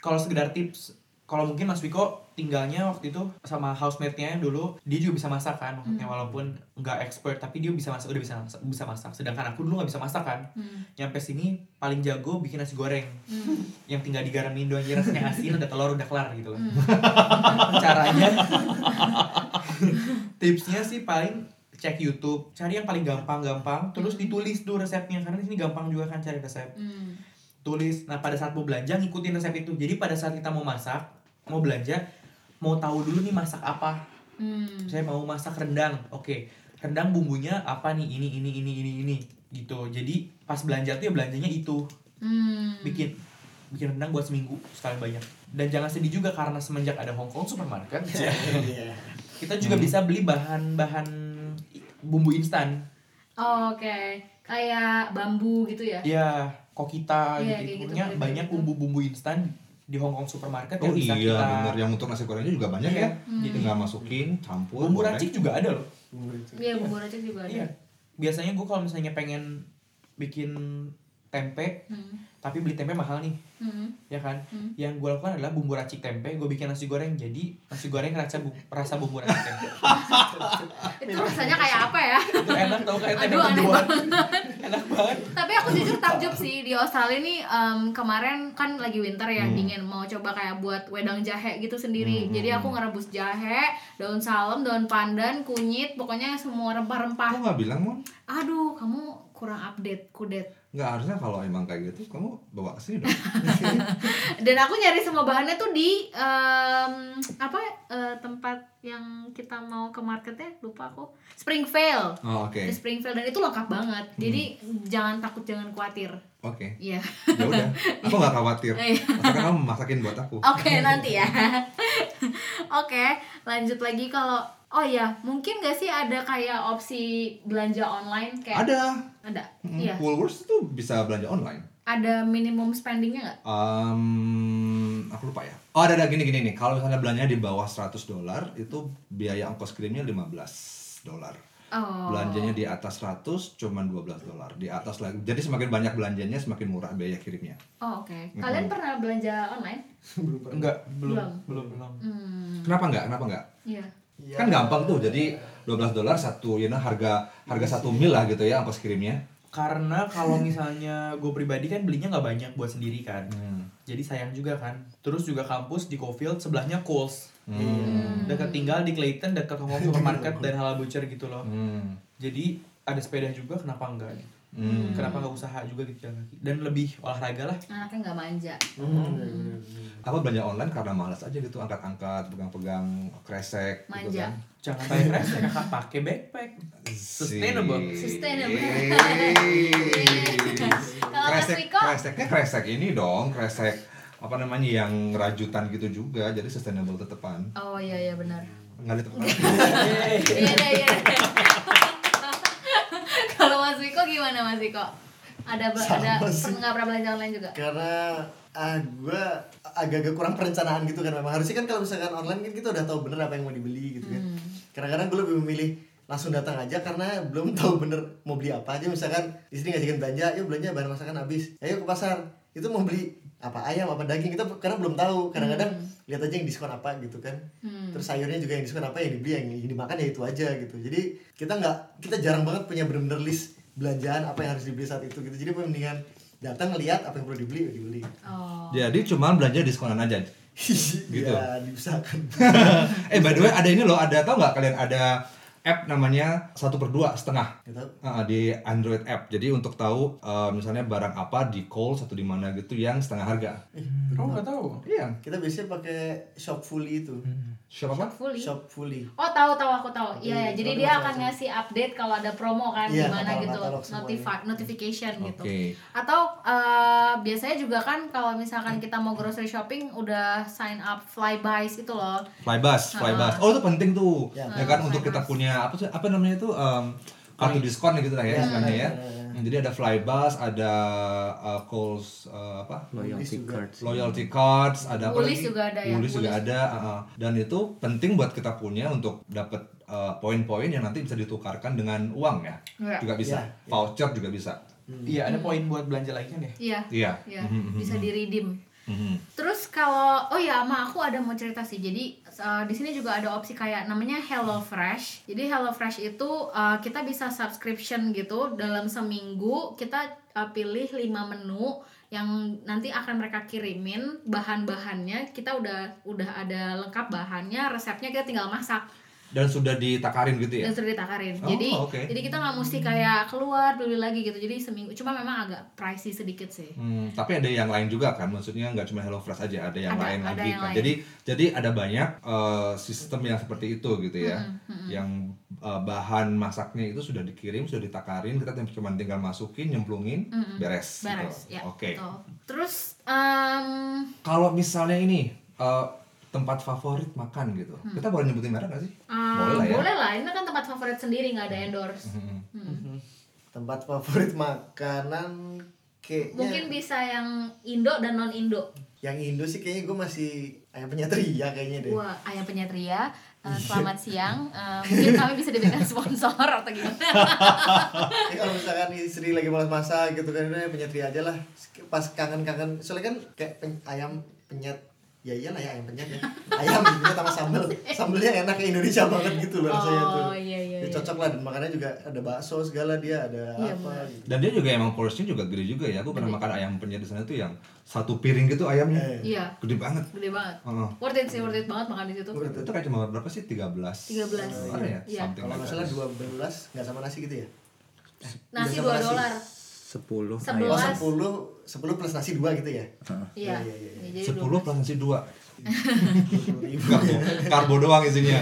[SPEAKER 3] kalau sekedar tips kalau mungkin Mas Wiko tinggalnya waktu itu sama housemate-nya yang dulu dia juga bisa masak kan maksudnya walaupun nggak expert tapi dia bisa masak udah bisa masak, bisa masak sedangkan aku dulu nggak bisa masak kan
[SPEAKER 2] Hmm.
[SPEAKER 3] nyampe sini paling jago bikin nasi goreng
[SPEAKER 2] Hmm.
[SPEAKER 3] yang tinggal digaramin doang aja rasanya asin ada telur udah kelar
[SPEAKER 2] [LAUGHS]
[SPEAKER 3] gitu
[SPEAKER 2] hmm,
[SPEAKER 3] kan caranya [LAUGHS] tipsnya sih paling cek YouTube cari yang paling gampang-gampang terus ditulis tuh resepnya karena di sini gampang juga kan cari resep
[SPEAKER 2] Hmm.
[SPEAKER 3] tulis nah pada saat mau belanja ngikutin resep itu jadi pada saat kita mau masak mau belanja mau tahu dulu nih masak apa
[SPEAKER 2] Hmm.
[SPEAKER 3] saya mau masak rendang oke rendang bumbunya apa nih ini ini ini ini ini gitu jadi pas belanja tuh ya belanjanya itu
[SPEAKER 2] Hmm.
[SPEAKER 3] bikin bikin rendang buat seminggu sekali banyak dan jangan sedih juga karena semenjak ada Hong
[SPEAKER 1] [LAUGHS]
[SPEAKER 3] Kong supermarket
[SPEAKER 4] Iya.
[SPEAKER 3] kita juga
[SPEAKER 1] Hmm.
[SPEAKER 3] bisa beli bahan-bahan i- bumbu instan
[SPEAKER 2] Oh, Oke, kayak bambu gitu ya?
[SPEAKER 3] ya
[SPEAKER 2] Iya,
[SPEAKER 3] kokita gitu,
[SPEAKER 2] kayak gitu,
[SPEAKER 3] Pokoknya
[SPEAKER 2] beli-beli
[SPEAKER 3] banyak
[SPEAKER 2] gitu.
[SPEAKER 3] bumbu-bumbu instan di Hong Kong supermarket
[SPEAKER 1] oh
[SPEAKER 3] yang bisa
[SPEAKER 1] iya
[SPEAKER 3] kita
[SPEAKER 1] bener yang untuk nasi gorengnya juga banyak
[SPEAKER 3] Iya.
[SPEAKER 1] ya
[SPEAKER 2] Gitu.
[SPEAKER 1] tinggal masukin campur
[SPEAKER 3] bumbu
[SPEAKER 1] goreng.
[SPEAKER 3] racik juga ada loh
[SPEAKER 2] Iya, bumbu racik juga ada.
[SPEAKER 3] iya biasanya gue kalau misalnya pengen bikin tempe
[SPEAKER 2] Hmm.
[SPEAKER 3] tapi beli tempe mahal nih
[SPEAKER 2] Hmm.
[SPEAKER 3] ya kan yang gue lakukan adalah bumbu racik tempe gue bikin nasi goreng jadi nasi goreng rasa bu- rasa bumbu racik tempe Ah,
[SPEAKER 2] Itu rasanya kayak apa ya? [LAUGHS]
[SPEAKER 3] itu enak tau kayak tempe
[SPEAKER 2] Aduh, aneh
[SPEAKER 3] mendoan. enak banget
[SPEAKER 2] Tapi aku jujur takjub sih di Australia nih em, kemarin kan lagi winter ya
[SPEAKER 3] Hmm.
[SPEAKER 2] dingin mau coba kayak buat wedang jahe gitu sendiri. Jadi
[SPEAKER 3] hmm,
[SPEAKER 2] aku ngerebus jahe, daun salam, daun pandan, kunyit, pokoknya semua
[SPEAKER 1] kamu
[SPEAKER 2] rempah-rempah.
[SPEAKER 1] nggak bilang mon
[SPEAKER 2] Aduh, kamu kurang update kudet.
[SPEAKER 1] nggak harusnya kalau emang kayak gitu kamu bawa ke
[SPEAKER 2] [LAUGHS]
[SPEAKER 1] sini dong
[SPEAKER 2] Dan aku nyari semua bahannya tuh di em, apa eh, tempat yang kita mau ke marketnya lupa aku. Springvale.
[SPEAKER 1] oh, oke Hmm.
[SPEAKER 2] Ke Springfield dan itu lengkap banget. Jadi jangan takut, jangan khawatir.
[SPEAKER 1] oke
[SPEAKER 2] Iya.
[SPEAKER 1] ya udah aku nggak khawatir
[SPEAKER 2] Iya.
[SPEAKER 1] asalkan kamu masakin buat aku
[SPEAKER 2] Oke, nanti ya. [LAUGHS] Oke, lanjut lagi kalau oh ya, mungkin gak sih ada kayak opsi belanja online kayak
[SPEAKER 1] ada
[SPEAKER 2] ada.
[SPEAKER 1] Mm,
[SPEAKER 2] Iya.
[SPEAKER 1] Woolworths tuh bisa belanja online
[SPEAKER 2] Ada minimum spendingnya nggak?
[SPEAKER 1] Em, aku lupa ya. Oh, ada ada gini gini nih. Kalau misalnya belanjanya di bawah 100 dolar, itu biaya ongkos kirimnya 15 dolar.
[SPEAKER 2] Oh.
[SPEAKER 1] Belanjanya di atas 100 cuman 12 dolar. Di atas lagi. Jadi semakin banyak belanjanya semakin murah biaya kirimnya.
[SPEAKER 2] Oh,
[SPEAKER 1] Hmm.
[SPEAKER 2] oke. Kalian pernah belanja online?
[SPEAKER 4] Belum pernah.
[SPEAKER 3] enggak belum
[SPEAKER 2] Belum.
[SPEAKER 3] belum belum
[SPEAKER 2] Hmm,
[SPEAKER 1] Kenapa enggak? Kenapa enggak?
[SPEAKER 2] iya.
[SPEAKER 4] Iya.
[SPEAKER 1] Kan gampang tuh. Jadi 12 dolar satu you know, harga harga satu mil lah gitu ya ongkos kirimnya.
[SPEAKER 3] karena kalau misalnya gue pribadi kan belinya nggak banyak buat sendiri kan jadi sayang juga kan terus juga kampus di Cofield sebelahnya Coles
[SPEAKER 1] Hmm.
[SPEAKER 3] Iya. dekat tinggal di Clayton dekat Hong Kong supermarket dan halal butcher gitu loh
[SPEAKER 1] Hmm.
[SPEAKER 3] jadi ada sepeda juga kenapa enggak gitu. kenapa nggak usaha juga gitu jalan kaki dan lebih olahraga lah
[SPEAKER 2] Anaknya nggak manja.
[SPEAKER 4] Hmm, iya,
[SPEAKER 1] Aku belanja online karena malas aja gitu angkat-angkat, pegang-pegang kresek gitu
[SPEAKER 2] Manja.
[SPEAKER 1] kan.
[SPEAKER 3] jangan pakai kres kakak pakai [LAUGHS] backpack Sustainable.
[SPEAKER 2] Sustainable.
[SPEAKER 1] Yeay.
[SPEAKER 2] Kalau
[SPEAKER 1] Iya.
[SPEAKER 2] Mas
[SPEAKER 1] kresek,
[SPEAKER 2] Wiko?
[SPEAKER 1] kreseknya kresek ini dong, kresek apa namanya yang rajutan gitu juga, jadi sustainable tetepan.
[SPEAKER 2] Oh iya iya benar.
[SPEAKER 1] Nggak ada tetepan.
[SPEAKER 2] [LAUGHS] Iya iya [LAUGHS] iya. Kalau Mas Wiko gimana Mas Wiko? Ada ada
[SPEAKER 4] Sama sih.
[SPEAKER 2] pernah nggak pernah belanja online juga?
[SPEAKER 4] Karena ah gue agak-agak kurang perencanaan gitu kan memang harusnya kan kalau misalkan online kan kita udah tahu bener apa yang mau dibeli gitu kan kadang-kadang gue lebih memilih langsung datang aja karena belum [LAUGHS] tahu bener mau beli apa aja misalkan istri ngajakin kan belanja yuk belanja bahan masakan habis ayo ke pasar itu mau beli apa ayam apa daging kita karena belum tahu kadang-kadang lihat aja yang diskon apa gitu kan terus sayurnya juga yang diskon apa yang dibeli yang, yang dimakan ya itu aja gitu jadi kita nggak kita jarang banget punya bener-bener list belanjaan apa yang harus dibeli saat itu gitu jadi mendingan datang lihat apa yang perlu dibeli ya
[SPEAKER 5] [LAUGHS]
[SPEAKER 4] dibeli
[SPEAKER 2] Oh.
[SPEAKER 1] Jadi cuman belanja diskonan aja. Gitu.
[SPEAKER 4] ya diusahakan
[SPEAKER 1] [COUGHS] eh by the way ada ini loh, ada tau nggak kalian ada app namanya satu per dua setengah
[SPEAKER 4] Nggak tahu.
[SPEAKER 1] Ah, di Android app. Jadi untuk tahu eh, misalnya barang apa di call satu di mana gitu yang setengah harga.
[SPEAKER 3] Kamu Oh, nggak tahu?
[SPEAKER 1] Iya.
[SPEAKER 4] kita biasanya pakai shop fully itu
[SPEAKER 1] Shop apa?
[SPEAKER 2] Fully.
[SPEAKER 4] shop fully
[SPEAKER 2] Oh tahu tahu aku tahu. Iya ya,
[SPEAKER 4] Iya,
[SPEAKER 2] jadi
[SPEAKER 4] kalau
[SPEAKER 2] dia
[SPEAKER 4] ada
[SPEAKER 2] akan
[SPEAKER 4] macam-macam.
[SPEAKER 2] ngasih update kalau ada promo kan
[SPEAKER 4] Iya,
[SPEAKER 2] gimana
[SPEAKER 4] katalog-
[SPEAKER 2] gitu,
[SPEAKER 4] katalog semuanya.
[SPEAKER 2] notifi- notification gitu.
[SPEAKER 1] Oke.
[SPEAKER 2] Atau eh, biasanya juga kan kalau misalkan kita mau grocery shopping udah sign up flybys itu loh.
[SPEAKER 1] Flybus, Flybus. Oh itu penting tuh. Ya,
[SPEAKER 4] Ya.
[SPEAKER 1] kan
[SPEAKER 2] Ah,
[SPEAKER 1] untuk kita
[SPEAKER 2] Flybus.
[SPEAKER 1] punya apa sih apa namanya itu em, kartu diskon gitu lah ya istilahnya ya. Jadi ada Flybus, ada eh, Kohl's eh, apa?
[SPEAKER 4] Fully
[SPEAKER 5] Loyalty
[SPEAKER 4] juga.
[SPEAKER 5] cards.
[SPEAKER 1] Loyalty cards, ada apa
[SPEAKER 2] Woolies
[SPEAKER 1] lagi?
[SPEAKER 2] juga ada ya,
[SPEAKER 1] Woolies juga
[SPEAKER 2] Woolies.
[SPEAKER 1] ada ah, ah. dan itu penting buat kita punya untuk dapat eh, poin-poin yang nanti bisa ditukarkan dengan uang ya.
[SPEAKER 2] Iya.
[SPEAKER 1] Juga bisa.
[SPEAKER 4] Iya,
[SPEAKER 1] Voucher juga bisa.
[SPEAKER 3] Iya, ada poin buat belanja lagi kan ya?
[SPEAKER 2] Iya.
[SPEAKER 1] Iya.
[SPEAKER 2] Iya,
[SPEAKER 1] Mhm,
[SPEAKER 2] bisa di redeem.
[SPEAKER 1] mhm.
[SPEAKER 2] Terus kalau oh ya sama aku ada mau cerita sih. Jadi uh, di sini juga ada opsi kayak namanya Hello Fresh. Jadi Hello Fresh itu uh, kita bisa subscription gitu dalam seminggu kita uh, pilih 5 menu yang nanti akan mereka kirimin bahan-bahannya. Kita udah udah ada lengkap bahannya, resepnya kita tinggal masak
[SPEAKER 1] Dan sudah ditakarin gitu ya.
[SPEAKER 2] dan sudah ditakarin.
[SPEAKER 1] Oh,
[SPEAKER 2] jadi
[SPEAKER 1] oke.
[SPEAKER 2] jadi kita nggak mesti kayak keluar beli lagi gitu. Jadi seminggu cuma memang agak pricey sedikit sih.
[SPEAKER 1] Hmm, tapi ada yang lain juga kan, maksudnya nggak cuma HelloFresh aja, ada yang
[SPEAKER 2] Ada-
[SPEAKER 1] lain
[SPEAKER 2] ada
[SPEAKER 1] lagi
[SPEAKER 2] yang
[SPEAKER 1] kan.
[SPEAKER 2] lain.
[SPEAKER 1] Jadi jadi ada banyak eh, sistem yang seperti itu gitu ya,
[SPEAKER 2] Mm-mm, mm-mm.
[SPEAKER 1] yang eh, bahan masaknya itu sudah dikirim, sudah ditakarin, kita cuma tinggal masukin, nyemplungin,
[SPEAKER 2] Mm-mm.
[SPEAKER 1] beres. gitu.
[SPEAKER 2] Beres, ya.
[SPEAKER 1] Oke.
[SPEAKER 2] betul. Terus em,
[SPEAKER 1] Kalau misalnya ini eh, tempat favorit makan gitu,
[SPEAKER 2] Mm.
[SPEAKER 1] kita boleh nyebutin merek nggak sih?
[SPEAKER 2] Ah,
[SPEAKER 1] Boleh lah ya.
[SPEAKER 2] boleh lah, ini kan tempat favorit sendiri nggak ada endorse.
[SPEAKER 1] Hmm.
[SPEAKER 2] Hmm.
[SPEAKER 4] tempat favorit makanan
[SPEAKER 2] Mungkin
[SPEAKER 4] kayaknya
[SPEAKER 2] bisa yang Indo dan non Indo.
[SPEAKER 4] yang Indo sih kayaknya gue masih ayam penyatria kayaknya deh
[SPEAKER 2] Wah, ayam penyet Ria, eh, selamat siang. Eh, mungkin kami bisa diberikan sponsor atau gimana?
[SPEAKER 4] Ya, kalau misalkan istri lagi malas masak gitu kan udah penyatria aja lah pas kangen-kangen soalnya kan kayak pen- ayam penyet ya iyalah ya ayam penyet ya ayam penyet sama sambel sambelnya enak kayak Indonesia banget gitu loh rasanya tuh
[SPEAKER 2] Oh, iya, iya,
[SPEAKER 4] Ya,
[SPEAKER 2] iya.
[SPEAKER 4] cocok lah dan makannya juga ada bakso segala dia ada
[SPEAKER 2] Iya,
[SPEAKER 4] apa
[SPEAKER 2] benar.
[SPEAKER 4] gitu.
[SPEAKER 1] Dan dia juga emang porsinya juga gede juga ya. Aku pernah makan ayam penyet di sana tuh yang satu piring gitu ayamnya,
[SPEAKER 4] Eh.
[SPEAKER 2] Iya,
[SPEAKER 1] gede banget.
[SPEAKER 2] gede banget.
[SPEAKER 1] Heeh.
[SPEAKER 2] Worth it sih, worth it banget makan di situ.
[SPEAKER 1] Itu, itu kayak cuma berapa sih? 13
[SPEAKER 2] 13.
[SPEAKER 1] dolar ya? Something
[SPEAKER 2] Iya.
[SPEAKER 4] kalau
[SPEAKER 1] like that.
[SPEAKER 4] nggak salah dua belas nggak sama nasi gitu ya
[SPEAKER 2] Nasi
[SPEAKER 4] Biasa
[SPEAKER 2] 2
[SPEAKER 4] nasi.
[SPEAKER 2] dolar.
[SPEAKER 5] 10
[SPEAKER 4] oh
[SPEAKER 2] Sebelas.
[SPEAKER 5] ayam.
[SPEAKER 4] sepuluh sepuluh plus nasi dua gitu ya
[SPEAKER 2] Iya.
[SPEAKER 4] Iya, iya, iya.
[SPEAKER 2] Ya, jadi
[SPEAKER 1] 10
[SPEAKER 2] dua-
[SPEAKER 1] plus nasi 2
[SPEAKER 4] Sepuluh ribu.
[SPEAKER 1] karbo, karbo doang
[SPEAKER 2] [LAUGHS]
[SPEAKER 1] isinya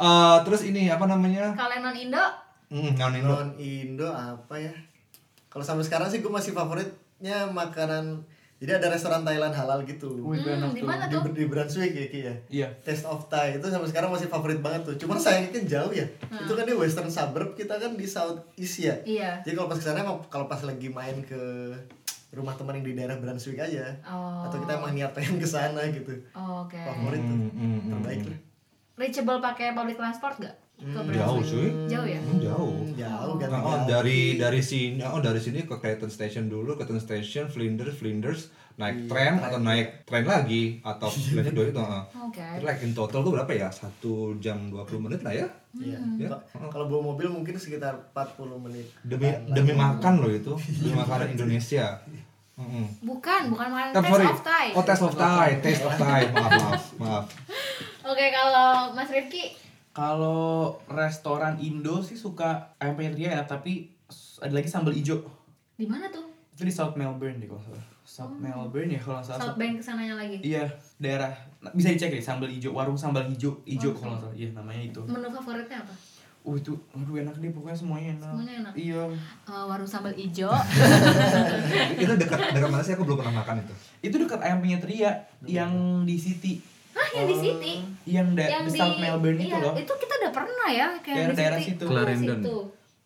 [SPEAKER 1] Eh, Terus ini apa namanya?
[SPEAKER 2] Kalau yang non Indo,
[SPEAKER 1] Hmm, non Indo.
[SPEAKER 4] non Indo apa ya kalau sampai sekarang sih gue masih favoritnya makanan jadi ada restoran Thailand halal gitu
[SPEAKER 3] Wih,
[SPEAKER 2] Hmm,
[SPEAKER 3] enak
[SPEAKER 2] di
[SPEAKER 3] tuh.
[SPEAKER 2] mana?
[SPEAKER 4] di, di Brunswick ya Ki ya
[SPEAKER 3] Iya.
[SPEAKER 4] Taste of Thai itu sampai sekarang masih favorit banget tuh cuman sayangnya kan jauh ya itu kan di western suburb kita kan di south east ya
[SPEAKER 2] iya.
[SPEAKER 4] jadi kalau pas kesana emang kalau pas lagi main ke rumah teman yang di daerah Brunswick aja
[SPEAKER 2] Oh.
[SPEAKER 4] atau kita emang niat pengen kesana gitu
[SPEAKER 2] Oh, Oke.
[SPEAKER 4] favorit tuh
[SPEAKER 1] Hmm, hmm, hmm.
[SPEAKER 4] terbaik lah
[SPEAKER 2] Reachable pakai public transport nggak? Ke
[SPEAKER 4] Hmm,
[SPEAKER 2] Brunswick?
[SPEAKER 1] jauh, cuy.
[SPEAKER 2] Jauh ya.
[SPEAKER 1] Hmm, jauh.
[SPEAKER 4] Hmm, jauh kan
[SPEAKER 1] Nah, oh, dari dari sini oh dari sini ke Clayton Station dulu, Clayton Station, Flinders, Flinders, naik Iya, tram atau naik tren lagi atau [LAUGHS] bilangnya dua itu. heeh.
[SPEAKER 2] Oh, Oke.
[SPEAKER 1] Jadi, like in total tuh berapa ya? Satu jam 20 menit lah ya.
[SPEAKER 4] Iya.
[SPEAKER 1] Ya.
[SPEAKER 4] Ka- Kalau bawa mobil mungkin sekitar 40 menit.
[SPEAKER 1] Demi
[SPEAKER 4] Lah.
[SPEAKER 1] demi makan loh itu, demi makanan Indonesia. Mm-mm.
[SPEAKER 2] Bukan, bukan
[SPEAKER 1] Eh,
[SPEAKER 2] makanan taste
[SPEAKER 1] sorry.
[SPEAKER 2] of Thai.
[SPEAKER 1] Oh, taste of Thai, taste [LAUGHS] of Thai. Maaf, maaf, maaf.
[SPEAKER 2] Oke, kalau Mas Rifki,
[SPEAKER 3] Kalau restoran Indo sih suka ayam penyet Ria ya, tapi s- ada lagi sambal ijo.
[SPEAKER 2] di mana tuh?
[SPEAKER 3] Itu di South Melbourne deh kalau nggak salah. South Melbourne ya kalau nggak salah.
[SPEAKER 2] Oh. South Bank kesananya lagi.
[SPEAKER 3] Iya, daerah. Nah, Bisa dicek deh sambal ijo, warung sambal ijo, ijo kalau nggak salah. Iya, namanya itu.
[SPEAKER 2] Menu favoritnya apa?
[SPEAKER 3] Uh itu, aduh enak deh pokoknya semuanya enak.
[SPEAKER 2] Semuanya enak.
[SPEAKER 3] Iya.
[SPEAKER 2] Eh, warung sambal ijo.
[SPEAKER 1] itu dekat dekat mana sih aku belum pernah makan itu
[SPEAKER 3] Itu dekat ayam penyet Ria yang di City, Eh,
[SPEAKER 2] Hah, yang di City.
[SPEAKER 3] yang, da-
[SPEAKER 2] [LAUGHS] Yang
[SPEAKER 3] di South Melbourne itu
[SPEAKER 2] iya,
[SPEAKER 3] loh.
[SPEAKER 2] Itu kita udah pernah ya kayak
[SPEAKER 3] Daerah-daerah situ.
[SPEAKER 2] Iya,
[SPEAKER 5] Clarendon.
[SPEAKER 2] situ.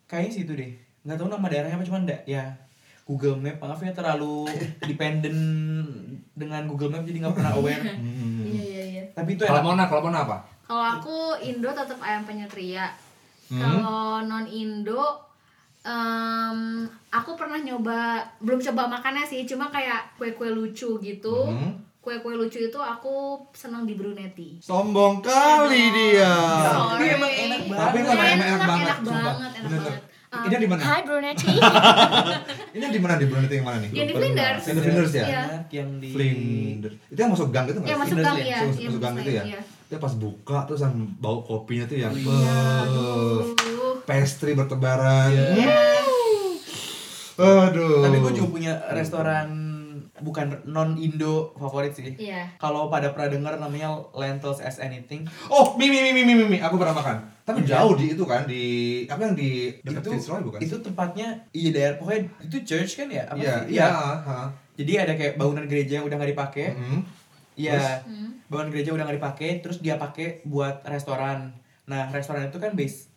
[SPEAKER 3] Kayaknya situ deh. Nggak tahu nama daerahnya apa cuman da- ya Google Map maafnya terlalu dependent dengan Google Map jadi nggak pernah
[SPEAKER 2] [LAUGHS]
[SPEAKER 3] aware.
[SPEAKER 2] Iya iya iya.
[SPEAKER 3] Tapi itu
[SPEAKER 1] Kalau
[SPEAKER 3] enak.
[SPEAKER 1] Mona, kalau Mona Hmm. apa?
[SPEAKER 2] Kalau aku Indo tetap ayam penyetria.
[SPEAKER 3] Hmm.
[SPEAKER 2] Kalau non Indo em, aku pernah nyoba belum coba makannya sih, cuma kayak kue-kue lucu gitu.
[SPEAKER 1] Hmm.
[SPEAKER 2] Kue-kue lucu itu aku senang di Brunetti.
[SPEAKER 1] Sombong kali dia.
[SPEAKER 2] Sorry.
[SPEAKER 3] Tapi emang enak banget.
[SPEAKER 1] Tapi emang enak, enak banget,
[SPEAKER 2] enak
[SPEAKER 1] sumpah.
[SPEAKER 2] banget, enak
[SPEAKER 1] Bener-bener.
[SPEAKER 2] banget. Um,
[SPEAKER 1] Ini di mana?
[SPEAKER 2] Hai Brunetti.
[SPEAKER 1] [LAUGHS] Ini di mana di Brunei yang mana nih?
[SPEAKER 2] Yang di
[SPEAKER 1] Lupa.
[SPEAKER 2] Flinders.
[SPEAKER 1] Yang di Flinders ya?
[SPEAKER 2] Iya.
[SPEAKER 3] Enak yang di
[SPEAKER 1] Flinders. Itu yang masuk gang itu nggak
[SPEAKER 2] ya
[SPEAKER 1] sih?
[SPEAKER 2] masuk
[SPEAKER 3] Flinders
[SPEAKER 2] gang
[SPEAKER 3] ya?
[SPEAKER 2] ya.
[SPEAKER 1] Masuk-
[SPEAKER 2] Iya,
[SPEAKER 1] masuk gang
[SPEAKER 2] masuk
[SPEAKER 1] itu ya.
[SPEAKER 2] iya.
[SPEAKER 1] Dia pas buka terus yang bau kopinya tuh yang
[SPEAKER 2] Iya,
[SPEAKER 1] beuh.
[SPEAKER 2] aduh.
[SPEAKER 1] pastry bertebaran. Aduh.
[SPEAKER 3] Tapi gue juga punya restoran bukan non Indo favorit sih.
[SPEAKER 2] Iya.
[SPEAKER 3] Kalau pada pernah dengar namanya lentils as anything.
[SPEAKER 1] Oh, mie, mie, mie, mie, mie, mie. Aku pernah makan. Tapi jauh di itu kan di apa yang di dekat
[SPEAKER 3] itu
[SPEAKER 1] Fitzroy bukan?
[SPEAKER 3] itu tempatnya iya daerah pokoknya itu church kan ya apa
[SPEAKER 1] Iya,
[SPEAKER 3] sih?
[SPEAKER 1] iya. Mm-hmm.
[SPEAKER 3] jadi ada kayak bangunan gereja yang udah nggak
[SPEAKER 2] Eh?
[SPEAKER 3] dipakai
[SPEAKER 1] Heeh.
[SPEAKER 3] Iya,
[SPEAKER 2] Hmm.
[SPEAKER 3] bangunan gereja udah nggak dipakai, terus dia pakai buat restoran. Nah, restoran itu kan base,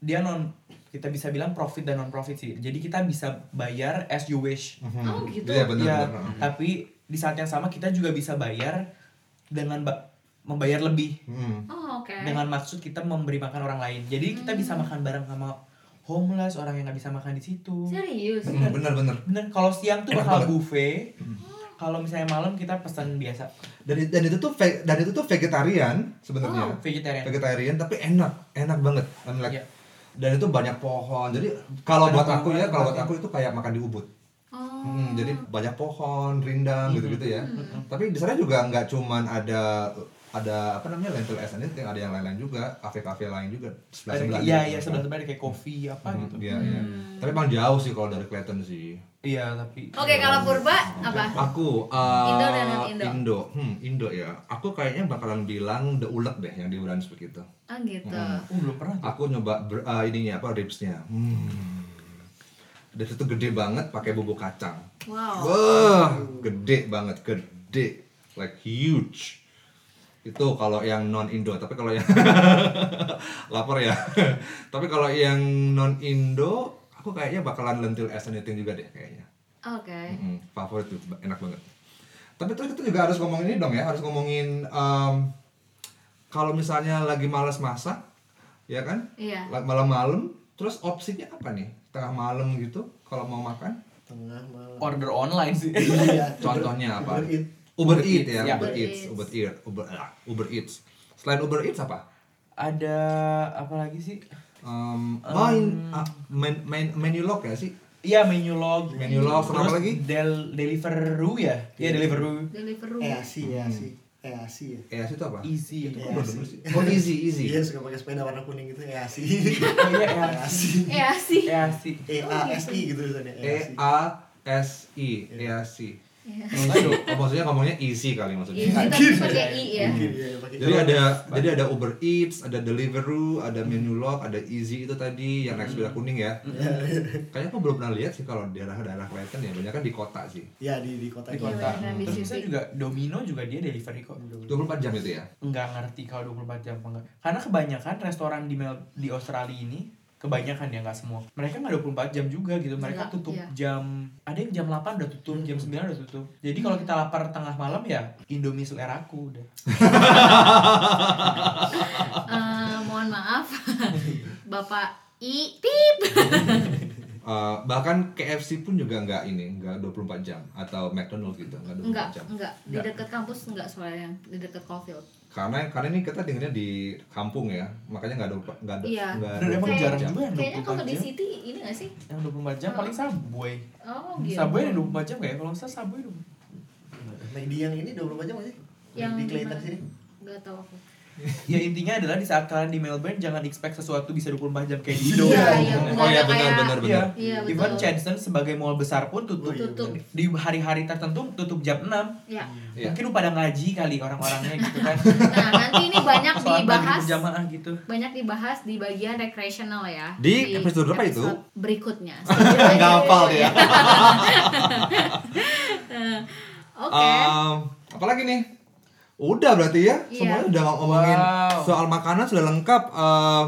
[SPEAKER 3] dia non, kita bisa bilang profit dan non profit sih. Jadi kita bisa bayar as you wish.
[SPEAKER 2] Oh, gitu.
[SPEAKER 1] Iya, benar,
[SPEAKER 3] Iya,
[SPEAKER 1] benar.
[SPEAKER 3] tapi di saat yang sama kita juga bisa bayar dengan ba- membayar lebih
[SPEAKER 1] Heeh.
[SPEAKER 2] Oh, oke.
[SPEAKER 3] dengan maksud kita memberi makan orang lain. Jadi kita bisa makan bareng sama homeless, orang yang nggak bisa makan di situ.
[SPEAKER 2] Serius.
[SPEAKER 1] Hmm, Benar, benar.
[SPEAKER 3] Bener, kalau siang tuh
[SPEAKER 1] Enak
[SPEAKER 3] bakal
[SPEAKER 1] banget. Hmm.
[SPEAKER 3] buffet. Kalau misalnya malam kita pesan biasa.
[SPEAKER 1] Dan, dan itu tuh ve- dan itu tuh vegetarian sebenarnya.
[SPEAKER 3] Vegetarian.
[SPEAKER 1] vegetarian tapi enak enak banget I'm like,
[SPEAKER 3] Oh, Iya.
[SPEAKER 1] dan itu banyak pohon jadi kalau
[SPEAKER 3] Banyak
[SPEAKER 1] buat aku
[SPEAKER 3] pohon,
[SPEAKER 1] ya kalau buat
[SPEAKER 3] tempatnya.
[SPEAKER 1] aku itu kayak makan di ubud
[SPEAKER 2] Oh.
[SPEAKER 1] Hmm, jadi banyak pohon rindang gitu gitu ya
[SPEAKER 3] Hmm.
[SPEAKER 2] Mhm.
[SPEAKER 1] tapi di sana juga nggak cuman ada ada apa namanya lentil as anything ada yang lain-lain juga kafe-kafe lain juga sebelah
[SPEAKER 3] Ada
[SPEAKER 1] sebelah kan?
[SPEAKER 3] kayak- Iya, iya, sebelah sebelah ada kayak kopi apa gitu.
[SPEAKER 1] Iya, iya. Tapi emang jauh sih kalau dari Clayton sih.
[SPEAKER 3] Iya, tapi
[SPEAKER 2] Oke, kalau Purba apa?
[SPEAKER 1] Aku eh,
[SPEAKER 2] Indo dan non-Indo.
[SPEAKER 1] Indo. Hmm, Indo ya. Aku kayaknya bakalan bilang the ulek deh yang di Brunswick itu.
[SPEAKER 2] Oh gitu.
[SPEAKER 3] aku belum pernah.
[SPEAKER 1] aku nyoba ber- eh, ininya apa ribsnya hmm. Ribs itu gede banget pakai bubuk kacang
[SPEAKER 2] Wow.
[SPEAKER 1] wah gede banget gede like huge itu kalau yang non Indo tapi kalau yang [LAUGHS] lapar ya [LAUGHS] tapi kalau yang non Indo aku kayaknya bakalan lentil as anything juga deh kayaknya
[SPEAKER 2] Oke.
[SPEAKER 1] Mm, favorit tuh ba- enak banget tapi terus kita juga harus ngomongin ini dong ya harus ngomongin em, kalau misalnya lagi malas masak ya kan
[SPEAKER 2] Iya.
[SPEAKER 1] La- malam-malam terus opsinya apa nih tengah malam gitu kalau mau makan
[SPEAKER 4] Tengah malam.
[SPEAKER 3] Order online
[SPEAKER 1] [LAUGHS]
[SPEAKER 3] sih.
[SPEAKER 4] Iya.
[SPEAKER 1] contohnya apa
[SPEAKER 4] Uber Eats.
[SPEAKER 1] Uber Eats ya
[SPEAKER 3] Iya.
[SPEAKER 1] Uber
[SPEAKER 2] Uber
[SPEAKER 1] Eats
[SPEAKER 2] Eats.
[SPEAKER 1] Uber Eats Uber ah, Uber Eats selain Uber Eats apa
[SPEAKER 3] ada apa lagi sih?
[SPEAKER 1] Em, main ah, main main menu log ya sih
[SPEAKER 3] Iya, menu log.
[SPEAKER 1] Menu log, sama apa lagi?
[SPEAKER 3] Del Deliveroo ya? Iya, Deliveroo.
[SPEAKER 2] Deliveroo.
[SPEAKER 4] Eh asi, eh asi, eh asi
[SPEAKER 1] ya
[SPEAKER 4] ya.
[SPEAKER 1] itu apa
[SPEAKER 3] Easy.
[SPEAKER 1] Kok
[SPEAKER 4] Iya.
[SPEAKER 1] belum denger sih? oh easy easy
[SPEAKER 4] Iya suka pakai sepeda warna kuning gitu, eh
[SPEAKER 1] [LAUGHS]
[SPEAKER 4] asi.
[SPEAKER 3] Oh iya,
[SPEAKER 4] Eh
[SPEAKER 3] ya.
[SPEAKER 4] asi.
[SPEAKER 2] Eh asih.
[SPEAKER 3] [LAUGHS]
[SPEAKER 1] Iya,
[SPEAKER 3] Ya sih.
[SPEAKER 4] E A S I gitu tulisannya.
[SPEAKER 1] E
[SPEAKER 4] Eh asi.
[SPEAKER 1] A S I E A C.
[SPEAKER 2] Iya.
[SPEAKER 1] Aduh, oh, maksudnya ngomongnya easy kali maksudnya.
[SPEAKER 2] Iya, tapi pakai i
[SPEAKER 4] [LAUGHS]
[SPEAKER 2] ya.
[SPEAKER 4] Iya, pakai.
[SPEAKER 1] Jadi ada jadi ada Uber Eats, ada Deliveroo, ada
[SPEAKER 3] Hmm.
[SPEAKER 1] Menulog, ada Easy itu tadi yang naik sepeda kuning ya.
[SPEAKER 3] Hmm.
[SPEAKER 1] [LAUGHS] Kayaknya aku belum pernah lihat sih kalau di daerah-daerah Klaten ya, banyak kan di kota sih.
[SPEAKER 4] Ya di di kota
[SPEAKER 3] Di
[SPEAKER 4] ini.
[SPEAKER 3] kota.
[SPEAKER 2] beneran di
[SPEAKER 3] Terus
[SPEAKER 2] sini.
[SPEAKER 3] bisa juga Domino juga dia delivery kok.
[SPEAKER 1] 24 jam itu ya.
[SPEAKER 3] Nggak ngerti kalau 24 jam apa enggak. Karena kebanyakan restoran di Mel di Australia ini kebanyakan ya nggak semua. Mereka nggak 24 jam juga gitu. Mereka
[SPEAKER 2] Nggak,
[SPEAKER 3] tutup
[SPEAKER 2] iya.
[SPEAKER 3] jam ada yang jam 8 udah tutup, jam 9 udah tutup. Jadi kalau kita lapar tengah malam ya Indomie selera aku udah.
[SPEAKER 2] Eh, mohon maaf. Bapak I pip.
[SPEAKER 1] Eh, bahkan KFC pun juga nggak ini, nggak 24 jam atau McDonald's gitu, nggak 24
[SPEAKER 2] Enggak,
[SPEAKER 1] jam.
[SPEAKER 2] enggak. Di dekat kampus enggak soalnya, di dekat Caulfield.
[SPEAKER 1] Karena karena ini kita dengernya di kampung ya, makanya nggak ada nggak ada
[SPEAKER 2] Iya.
[SPEAKER 1] nggak
[SPEAKER 3] Bener, emang
[SPEAKER 1] 24
[SPEAKER 3] jarang
[SPEAKER 1] jam.
[SPEAKER 3] juga yang
[SPEAKER 2] Kayaknya
[SPEAKER 3] 24
[SPEAKER 2] kalau di
[SPEAKER 3] jam.
[SPEAKER 2] city ini enggak sih?
[SPEAKER 3] Yang 24 jam paling Subway.
[SPEAKER 2] Oh, gitu.
[SPEAKER 3] Subway yang 24 jam kayak kalau nggak salah Subway dong. [LAUGHS]
[SPEAKER 4] Nah, di yang ini 24 jam aja.
[SPEAKER 2] Yang
[SPEAKER 4] di Clayton
[SPEAKER 2] mana?
[SPEAKER 4] sini.
[SPEAKER 2] Enggak tahu aku.
[SPEAKER 3] Ya intinya adalah di saat kalian di Melbourne jangan expect sesuatu bisa 24 jam kayak di Indo.
[SPEAKER 2] Iya,
[SPEAKER 1] iya.
[SPEAKER 2] iya.
[SPEAKER 1] Oh iya,
[SPEAKER 2] Enggak ada
[SPEAKER 1] benar,
[SPEAKER 2] kayak-
[SPEAKER 1] benar, benar.
[SPEAKER 3] Iya.
[SPEAKER 2] Iya, betul.
[SPEAKER 3] Even Chadstone sebagai mall besar pun tutup.
[SPEAKER 4] Oh, iya,
[SPEAKER 2] Tutup.
[SPEAKER 4] bener.
[SPEAKER 3] Di hari-hari tertentu tutup jam 6.
[SPEAKER 2] Ya.
[SPEAKER 1] Iya.
[SPEAKER 3] Mungkin lu pada ngaji kali orang-orangnya gitu
[SPEAKER 2] [LAUGHS]
[SPEAKER 3] kan.
[SPEAKER 2] Nah, nanti ini banyak
[SPEAKER 3] Sholat pagi
[SPEAKER 2] dibahas
[SPEAKER 3] berjamaah gitu.
[SPEAKER 2] banyak dibahas di bagian recreational ya.
[SPEAKER 1] Di episode berapa itu? [LAUGHS]
[SPEAKER 2] Berikutnya. Iya,
[SPEAKER 1] Nggak hafal dia.
[SPEAKER 2] Oke.
[SPEAKER 1] Em, apalagi nih? Udah berarti ya,
[SPEAKER 2] Iya.
[SPEAKER 1] semuanya udah ngomongin
[SPEAKER 3] Wow.
[SPEAKER 1] soal makanan sudah lengkap. Em, eh,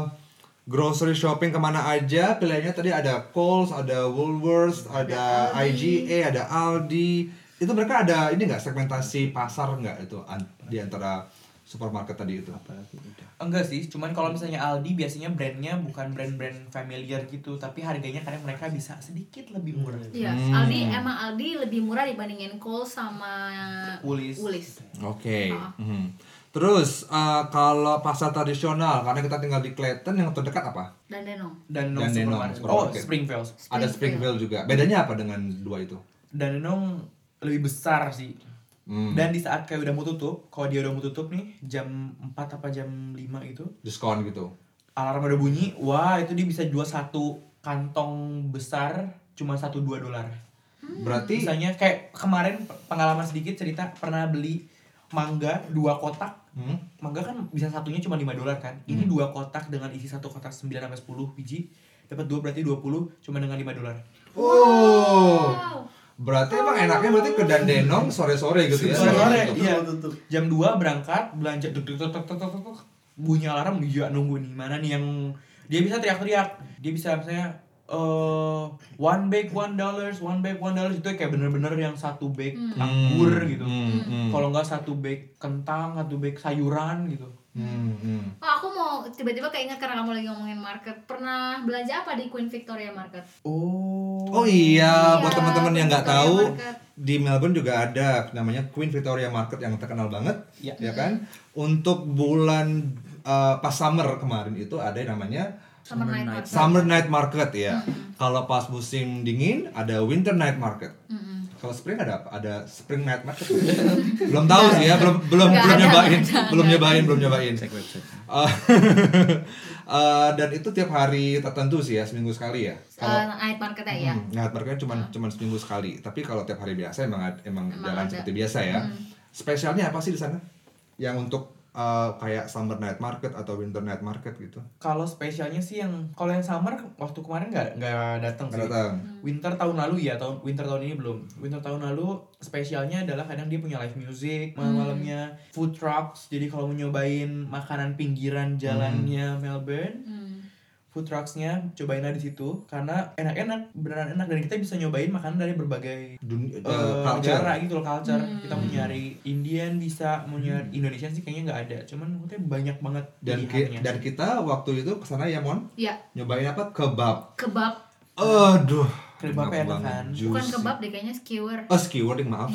[SPEAKER 1] grocery shopping kemana aja pilihannya tadi ada Coles ada Woolworths ada IGA ada Aldi itu mereka ada ini nggak segmentasi pasar nggak itu an- di antara supermarket tadi itu
[SPEAKER 3] Enggak sih, cuman kalau misalnya Aldi biasanya brandnya bukan brand-brand familiar gitu, tapi harganya kadang mereka bisa sedikit lebih murah.
[SPEAKER 2] Iya,
[SPEAKER 1] Hmm.
[SPEAKER 2] Aldi emang Aldi lebih murah dibandingin Kohl's sama
[SPEAKER 3] Woolies.
[SPEAKER 2] Iya. Woolies.
[SPEAKER 1] Oke.
[SPEAKER 2] Ah.
[SPEAKER 1] mhm. Terus eh, kalau pasar tradisional karena kita tinggal di Clayton yang terdekat apa?
[SPEAKER 2] Dan Denong.
[SPEAKER 3] Dan
[SPEAKER 1] Dan Danone
[SPEAKER 3] supermarket. Oh,
[SPEAKER 1] supermarket.
[SPEAKER 3] Springfield.
[SPEAKER 1] Ada Springfield juga. Bedanya apa dengan dua itu?
[SPEAKER 3] Dan Danone lebih besar sih.
[SPEAKER 1] Hmm.
[SPEAKER 3] Dan di saat kayak udah mau tutup, kalau dia udah mau tutup nih, jam 4 apa jam 5 gitu,
[SPEAKER 1] Diskon gitu.
[SPEAKER 3] alarm udah bunyi, wah itu dia bisa jual satu kantong besar cuma satu dua dolar.
[SPEAKER 2] Hmm.
[SPEAKER 1] Berarti
[SPEAKER 3] Misalnya kayak kemarin pengalaman sedikit cerita pernah beli mangga dua kotak
[SPEAKER 1] Hmm?
[SPEAKER 3] mangga kan bisa satunya cuma 5 dolar kan. Ini dua kotak dengan isi satu kotak 9 sampai 10 biji dapat dua berarti 20 cuma dengan 5 dolar.
[SPEAKER 1] Oh.
[SPEAKER 2] Wow.
[SPEAKER 1] Berarti emang enaknya berarti ke Dandenong sore-sore gitu ya.
[SPEAKER 3] Sore-sore,
[SPEAKER 1] Tutup.
[SPEAKER 3] iya.
[SPEAKER 4] Tutup, tutup.
[SPEAKER 3] Jam 2 berangkat, belanja duk, duk, duk, duk, duk, duk, duk. bunyi alarm dia nunggu nih mana nih yang dia bisa teriak-teriak. Dia bisa misalnya eh one bag one dollars, one bag one dollars itu kayak bener-bener yang satu bag anggur gitu.
[SPEAKER 1] Hmm, hmm.
[SPEAKER 3] Kalau nggak satu bag kentang, satu bag sayuran gitu.
[SPEAKER 1] Hmm, hmm.
[SPEAKER 2] Oh, aku mau tiba-tiba keinget karena kamu lagi ngomongin market. Pernah belanja apa di Queen Victoria Market?
[SPEAKER 3] Oh.
[SPEAKER 1] Oh iya,
[SPEAKER 2] Iya,
[SPEAKER 1] buat teman-teman yang nggak
[SPEAKER 2] Victoria
[SPEAKER 1] tahu
[SPEAKER 2] Market.
[SPEAKER 1] di Melbourne juga ada namanya Queen Victoria Market yang terkenal banget,
[SPEAKER 3] Iya.
[SPEAKER 1] ya kan? Untuk bulan eh, pas summer kemarin itu ada yang namanya
[SPEAKER 2] Summer, night market. Hmm.
[SPEAKER 1] Summer Night Market ya. Kalau pas musim dingin ada Winter Night Market.
[SPEAKER 2] Mm-mm.
[SPEAKER 1] Kalau spring ada apa? Ada spring night market. [LAUGHS] belum tahu sih ya, belum belum
[SPEAKER 2] Nggak
[SPEAKER 1] belum
[SPEAKER 2] ada,
[SPEAKER 1] nyobain,
[SPEAKER 2] nggak ada,
[SPEAKER 1] belum
[SPEAKER 2] nggak
[SPEAKER 1] nyobain, belum nyobain. Eh, [LAUGHS] eh, dan itu tiap hari tertentu sih ya, seminggu sekali ya.
[SPEAKER 2] Eh,
[SPEAKER 1] Kalau
[SPEAKER 2] night market ya.
[SPEAKER 1] hmm, night market cuma cuma seminggu sekali. Tapi kalau tiap hari biasa emang ad- emang,
[SPEAKER 2] Emang
[SPEAKER 1] jalan
[SPEAKER 2] ada. Hmm.
[SPEAKER 1] seperti biasa ya. Spesialnya apa sih di sana? Yang untuk eh, kayak summer night market atau winter night market gitu.
[SPEAKER 3] Kalau spesialnya sih yang kalau yang summer waktu kemarin nggak nggak datang
[SPEAKER 1] Nggak
[SPEAKER 3] sih.
[SPEAKER 1] datang.
[SPEAKER 3] Winter tahun lalu ya tahun winter tahun ini belum. Winter tahun lalu spesialnya adalah kadang dia punya live music
[SPEAKER 1] Hmm.
[SPEAKER 3] malam-malamnya, food trucks. Jadi kalau mau nyobain makanan pinggiran jalannya Melbourne,
[SPEAKER 2] Hmm.
[SPEAKER 3] food trucksnya cobain aja di situ karena enak-enak beneran enak dan kita bisa nyobain makanan dari berbagai
[SPEAKER 1] Dunia
[SPEAKER 3] eh,
[SPEAKER 1] eh, culture.
[SPEAKER 3] negara gitu loh culture
[SPEAKER 2] Hmm.
[SPEAKER 3] kita mau nyari Indian bisa mau nyari Indonesian sih kayaknya nggak ada cuman maksudnya banyak banget
[SPEAKER 1] Hmm. Dan, ki-
[SPEAKER 3] pilihannya.
[SPEAKER 1] dan kita waktu itu kesana ya Mon
[SPEAKER 2] Ya,
[SPEAKER 1] nyobain apa kebab
[SPEAKER 2] kebab.
[SPEAKER 1] Aduh.
[SPEAKER 3] Kebabnya enak
[SPEAKER 1] banget.
[SPEAKER 3] kan?
[SPEAKER 1] Juicy.
[SPEAKER 2] Bukan kebab deh kayaknya skewer.
[SPEAKER 1] Oh, skewarding maaf.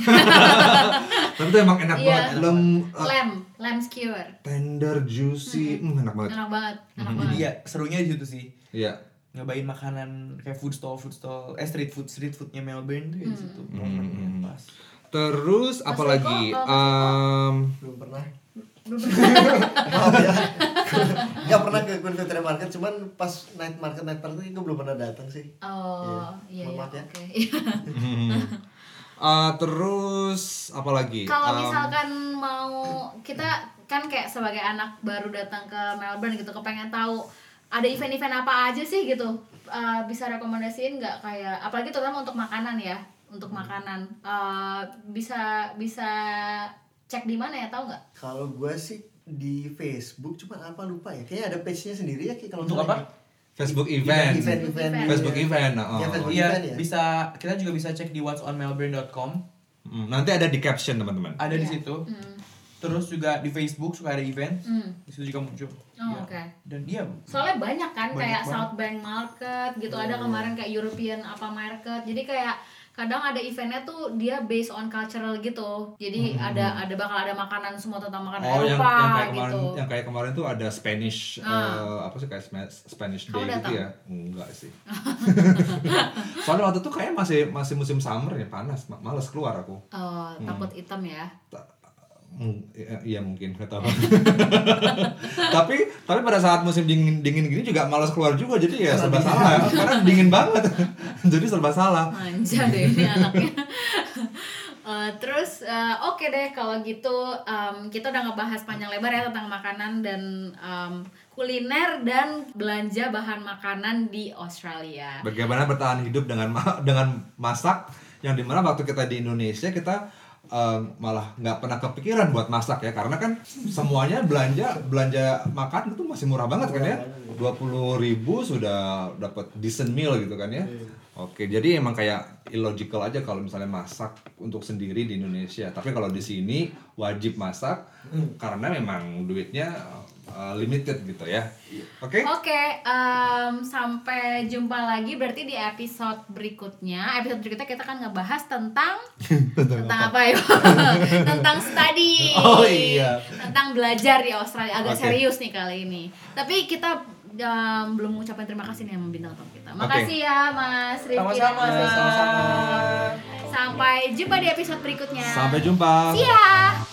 [SPEAKER 1] [LAUGHS] Tapi itu emang enak
[SPEAKER 2] Iya.
[SPEAKER 1] banget. Lem eh,
[SPEAKER 2] Lamb, lamb skewer.
[SPEAKER 1] tender, juicy. Hmm, enak banget.
[SPEAKER 2] Enak banget, enak
[SPEAKER 3] Jadi
[SPEAKER 1] Hmm.
[SPEAKER 2] banget.
[SPEAKER 3] ya serunya di situ sih
[SPEAKER 1] Iya.
[SPEAKER 3] nyobain makanan kayak food stall food stall eh street food street foodnya Melbourne tuh ya di
[SPEAKER 2] Hmm.
[SPEAKER 3] situ momennya pas
[SPEAKER 1] Terus
[SPEAKER 2] Mas
[SPEAKER 1] apalagi
[SPEAKER 2] Riko,
[SPEAKER 1] Em,
[SPEAKER 4] belum pernah
[SPEAKER 2] Belum
[SPEAKER 4] maaf ya [LAUGHS] nggak pernah ke Queen Victoria Market cuman pas night market night market itu belum pernah datang sih
[SPEAKER 2] Oh, iya iya.
[SPEAKER 4] Maaf ya.
[SPEAKER 2] Oke. [LAUGHS]
[SPEAKER 1] hmm. Eh, terus apalagi? Em,
[SPEAKER 2] Kalau misalkan mau kita kan kayak sebagai anak baru datang ke Melbourne gitu, kepengen tahu ada event-event apa aja sih gitu. Eh, bisa rekomendasiin nggak kayak apalagi terutama untuk makanan ya, untuk makanan. Eh, bisa bisa cek di mana ya tahu nggak?
[SPEAKER 4] kalau gue sih di Facebook cuma apa lupa ya kayaknya ada page-nya sendiri ya Ki, kalau
[SPEAKER 3] Untuk
[SPEAKER 4] nggak salah.
[SPEAKER 3] apa?
[SPEAKER 1] Facebook event.
[SPEAKER 4] event event
[SPEAKER 1] Facebook event. oh.
[SPEAKER 4] Ya, Facebook
[SPEAKER 3] iya
[SPEAKER 4] event ya?
[SPEAKER 3] bisa kita juga bisa cek di whatsonmelbourne.com
[SPEAKER 1] Hmm, Nanti ada di caption teman-teman.
[SPEAKER 3] ada di
[SPEAKER 2] Iya.
[SPEAKER 3] situ
[SPEAKER 2] Hmm.
[SPEAKER 3] terus juga di Facebook suka ada event
[SPEAKER 2] hmm.
[SPEAKER 3] di situ juga muncul
[SPEAKER 2] Oh,
[SPEAKER 3] Iya.
[SPEAKER 2] oke.
[SPEAKER 3] dan dia
[SPEAKER 2] soalnya banyak kan
[SPEAKER 3] Banyak
[SPEAKER 2] kayak
[SPEAKER 3] banget.
[SPEAKER 2] South Bank Market gitu ada
[SPEAKER 1] Iya.
[SPEAKER 2] kemarin kayak European apa market jadi kayak kadang ada eventnya tuh dia based on cultural gitu jadi ada ada bakal ada makanan semua tentang makanan
[SPEAKER 1] Hmm, Oh, yang, yang
[SPEAKER 2] Eropa
[SPEAKER 1] kayak kemarin,
[SPEAKER 2] gitu
[SPEAKER 1] yang kayak kemarin tuh ada Spanish,
[SPEAKER 2] Ah.
[SPEAKER 1] eh, apa sih kayak Sma- Spanish Day
[SPEAKER 2] Kamu
[SPEAKER 1] gitu
[SPEAKER 2] datang?
[SPEAKER 1] ya? Enggak sih. [LAUGHS] Soalnya waktu itu kayak masih masih musim summer ya panas, ma- males keluar aku.
[SPEAKER 2] Eh,
[SPEAKER 1] Hmm.
[SPEAKER 2] takut hitam ya
[SPEAKER 1] Ta- mung- i- Iya mungkin nggak tahu. [LAUGHS] tapi tapi pada saat musim dingin dingin gini juga malas keluar juga jadi ya serba salah karena dingin banget [LAUGHS] jadi serba salah.
[SPEAKER 2] manja deh [LAUGHS] ini anaknya Eh, terus eh, oke deh kalau gitu em, kita udah ngebahas panjang lebar ya tentang makanan dan em, kuliner dan belanja bahan makanan di Australia
[SPEAKER 1] Bagaimana bertahan hidup dengan ma- dengan masak yang dimana waktu kita di Indonesia kita eh, malah nggak pernah kepikiran buat masak ya karena kan semuanya belanja belanja makan itu masih murah banget kan ya dua ribu sudah dapat decent meal gitu kan ya oke jadi emang kayak illogical aja kalau misalnya masak untuk sendiri di Indonesia tapi kalau di sini wajib masak karena memang duitnya eh, limited gitu ya oke
[SPEAKER 2] Oke, em, sampai jumpa lagi berarti di episode berikutnya. Episode berikutnya kita akan ngebahas tentang [LAUGHS] tentang, apa [LAUGHS] ya? tentang study.
[SPEAKER 1] Oh, iya.
[SPEAKER 2] Tentang belajar di Australia. Agak
[SPEAKER 1] Oke.
[SPEAKER 2] serius nih kali ini. Tapi kita em, belum mengucapkan terima kasih nih sama bintang tamu kita. Makasih ya Mas Rifki. dan
[SPEAKER 3] Sama-sama.
[SPEAKER 2] Mas Wisnu.
[SPEAKER 3] Sama-sama.
[SPEAKER 2] Sampai jumpa di episode berikutnya.
[SPEAKER 1] sampai jumpa
[SPEAKER 2] See ya.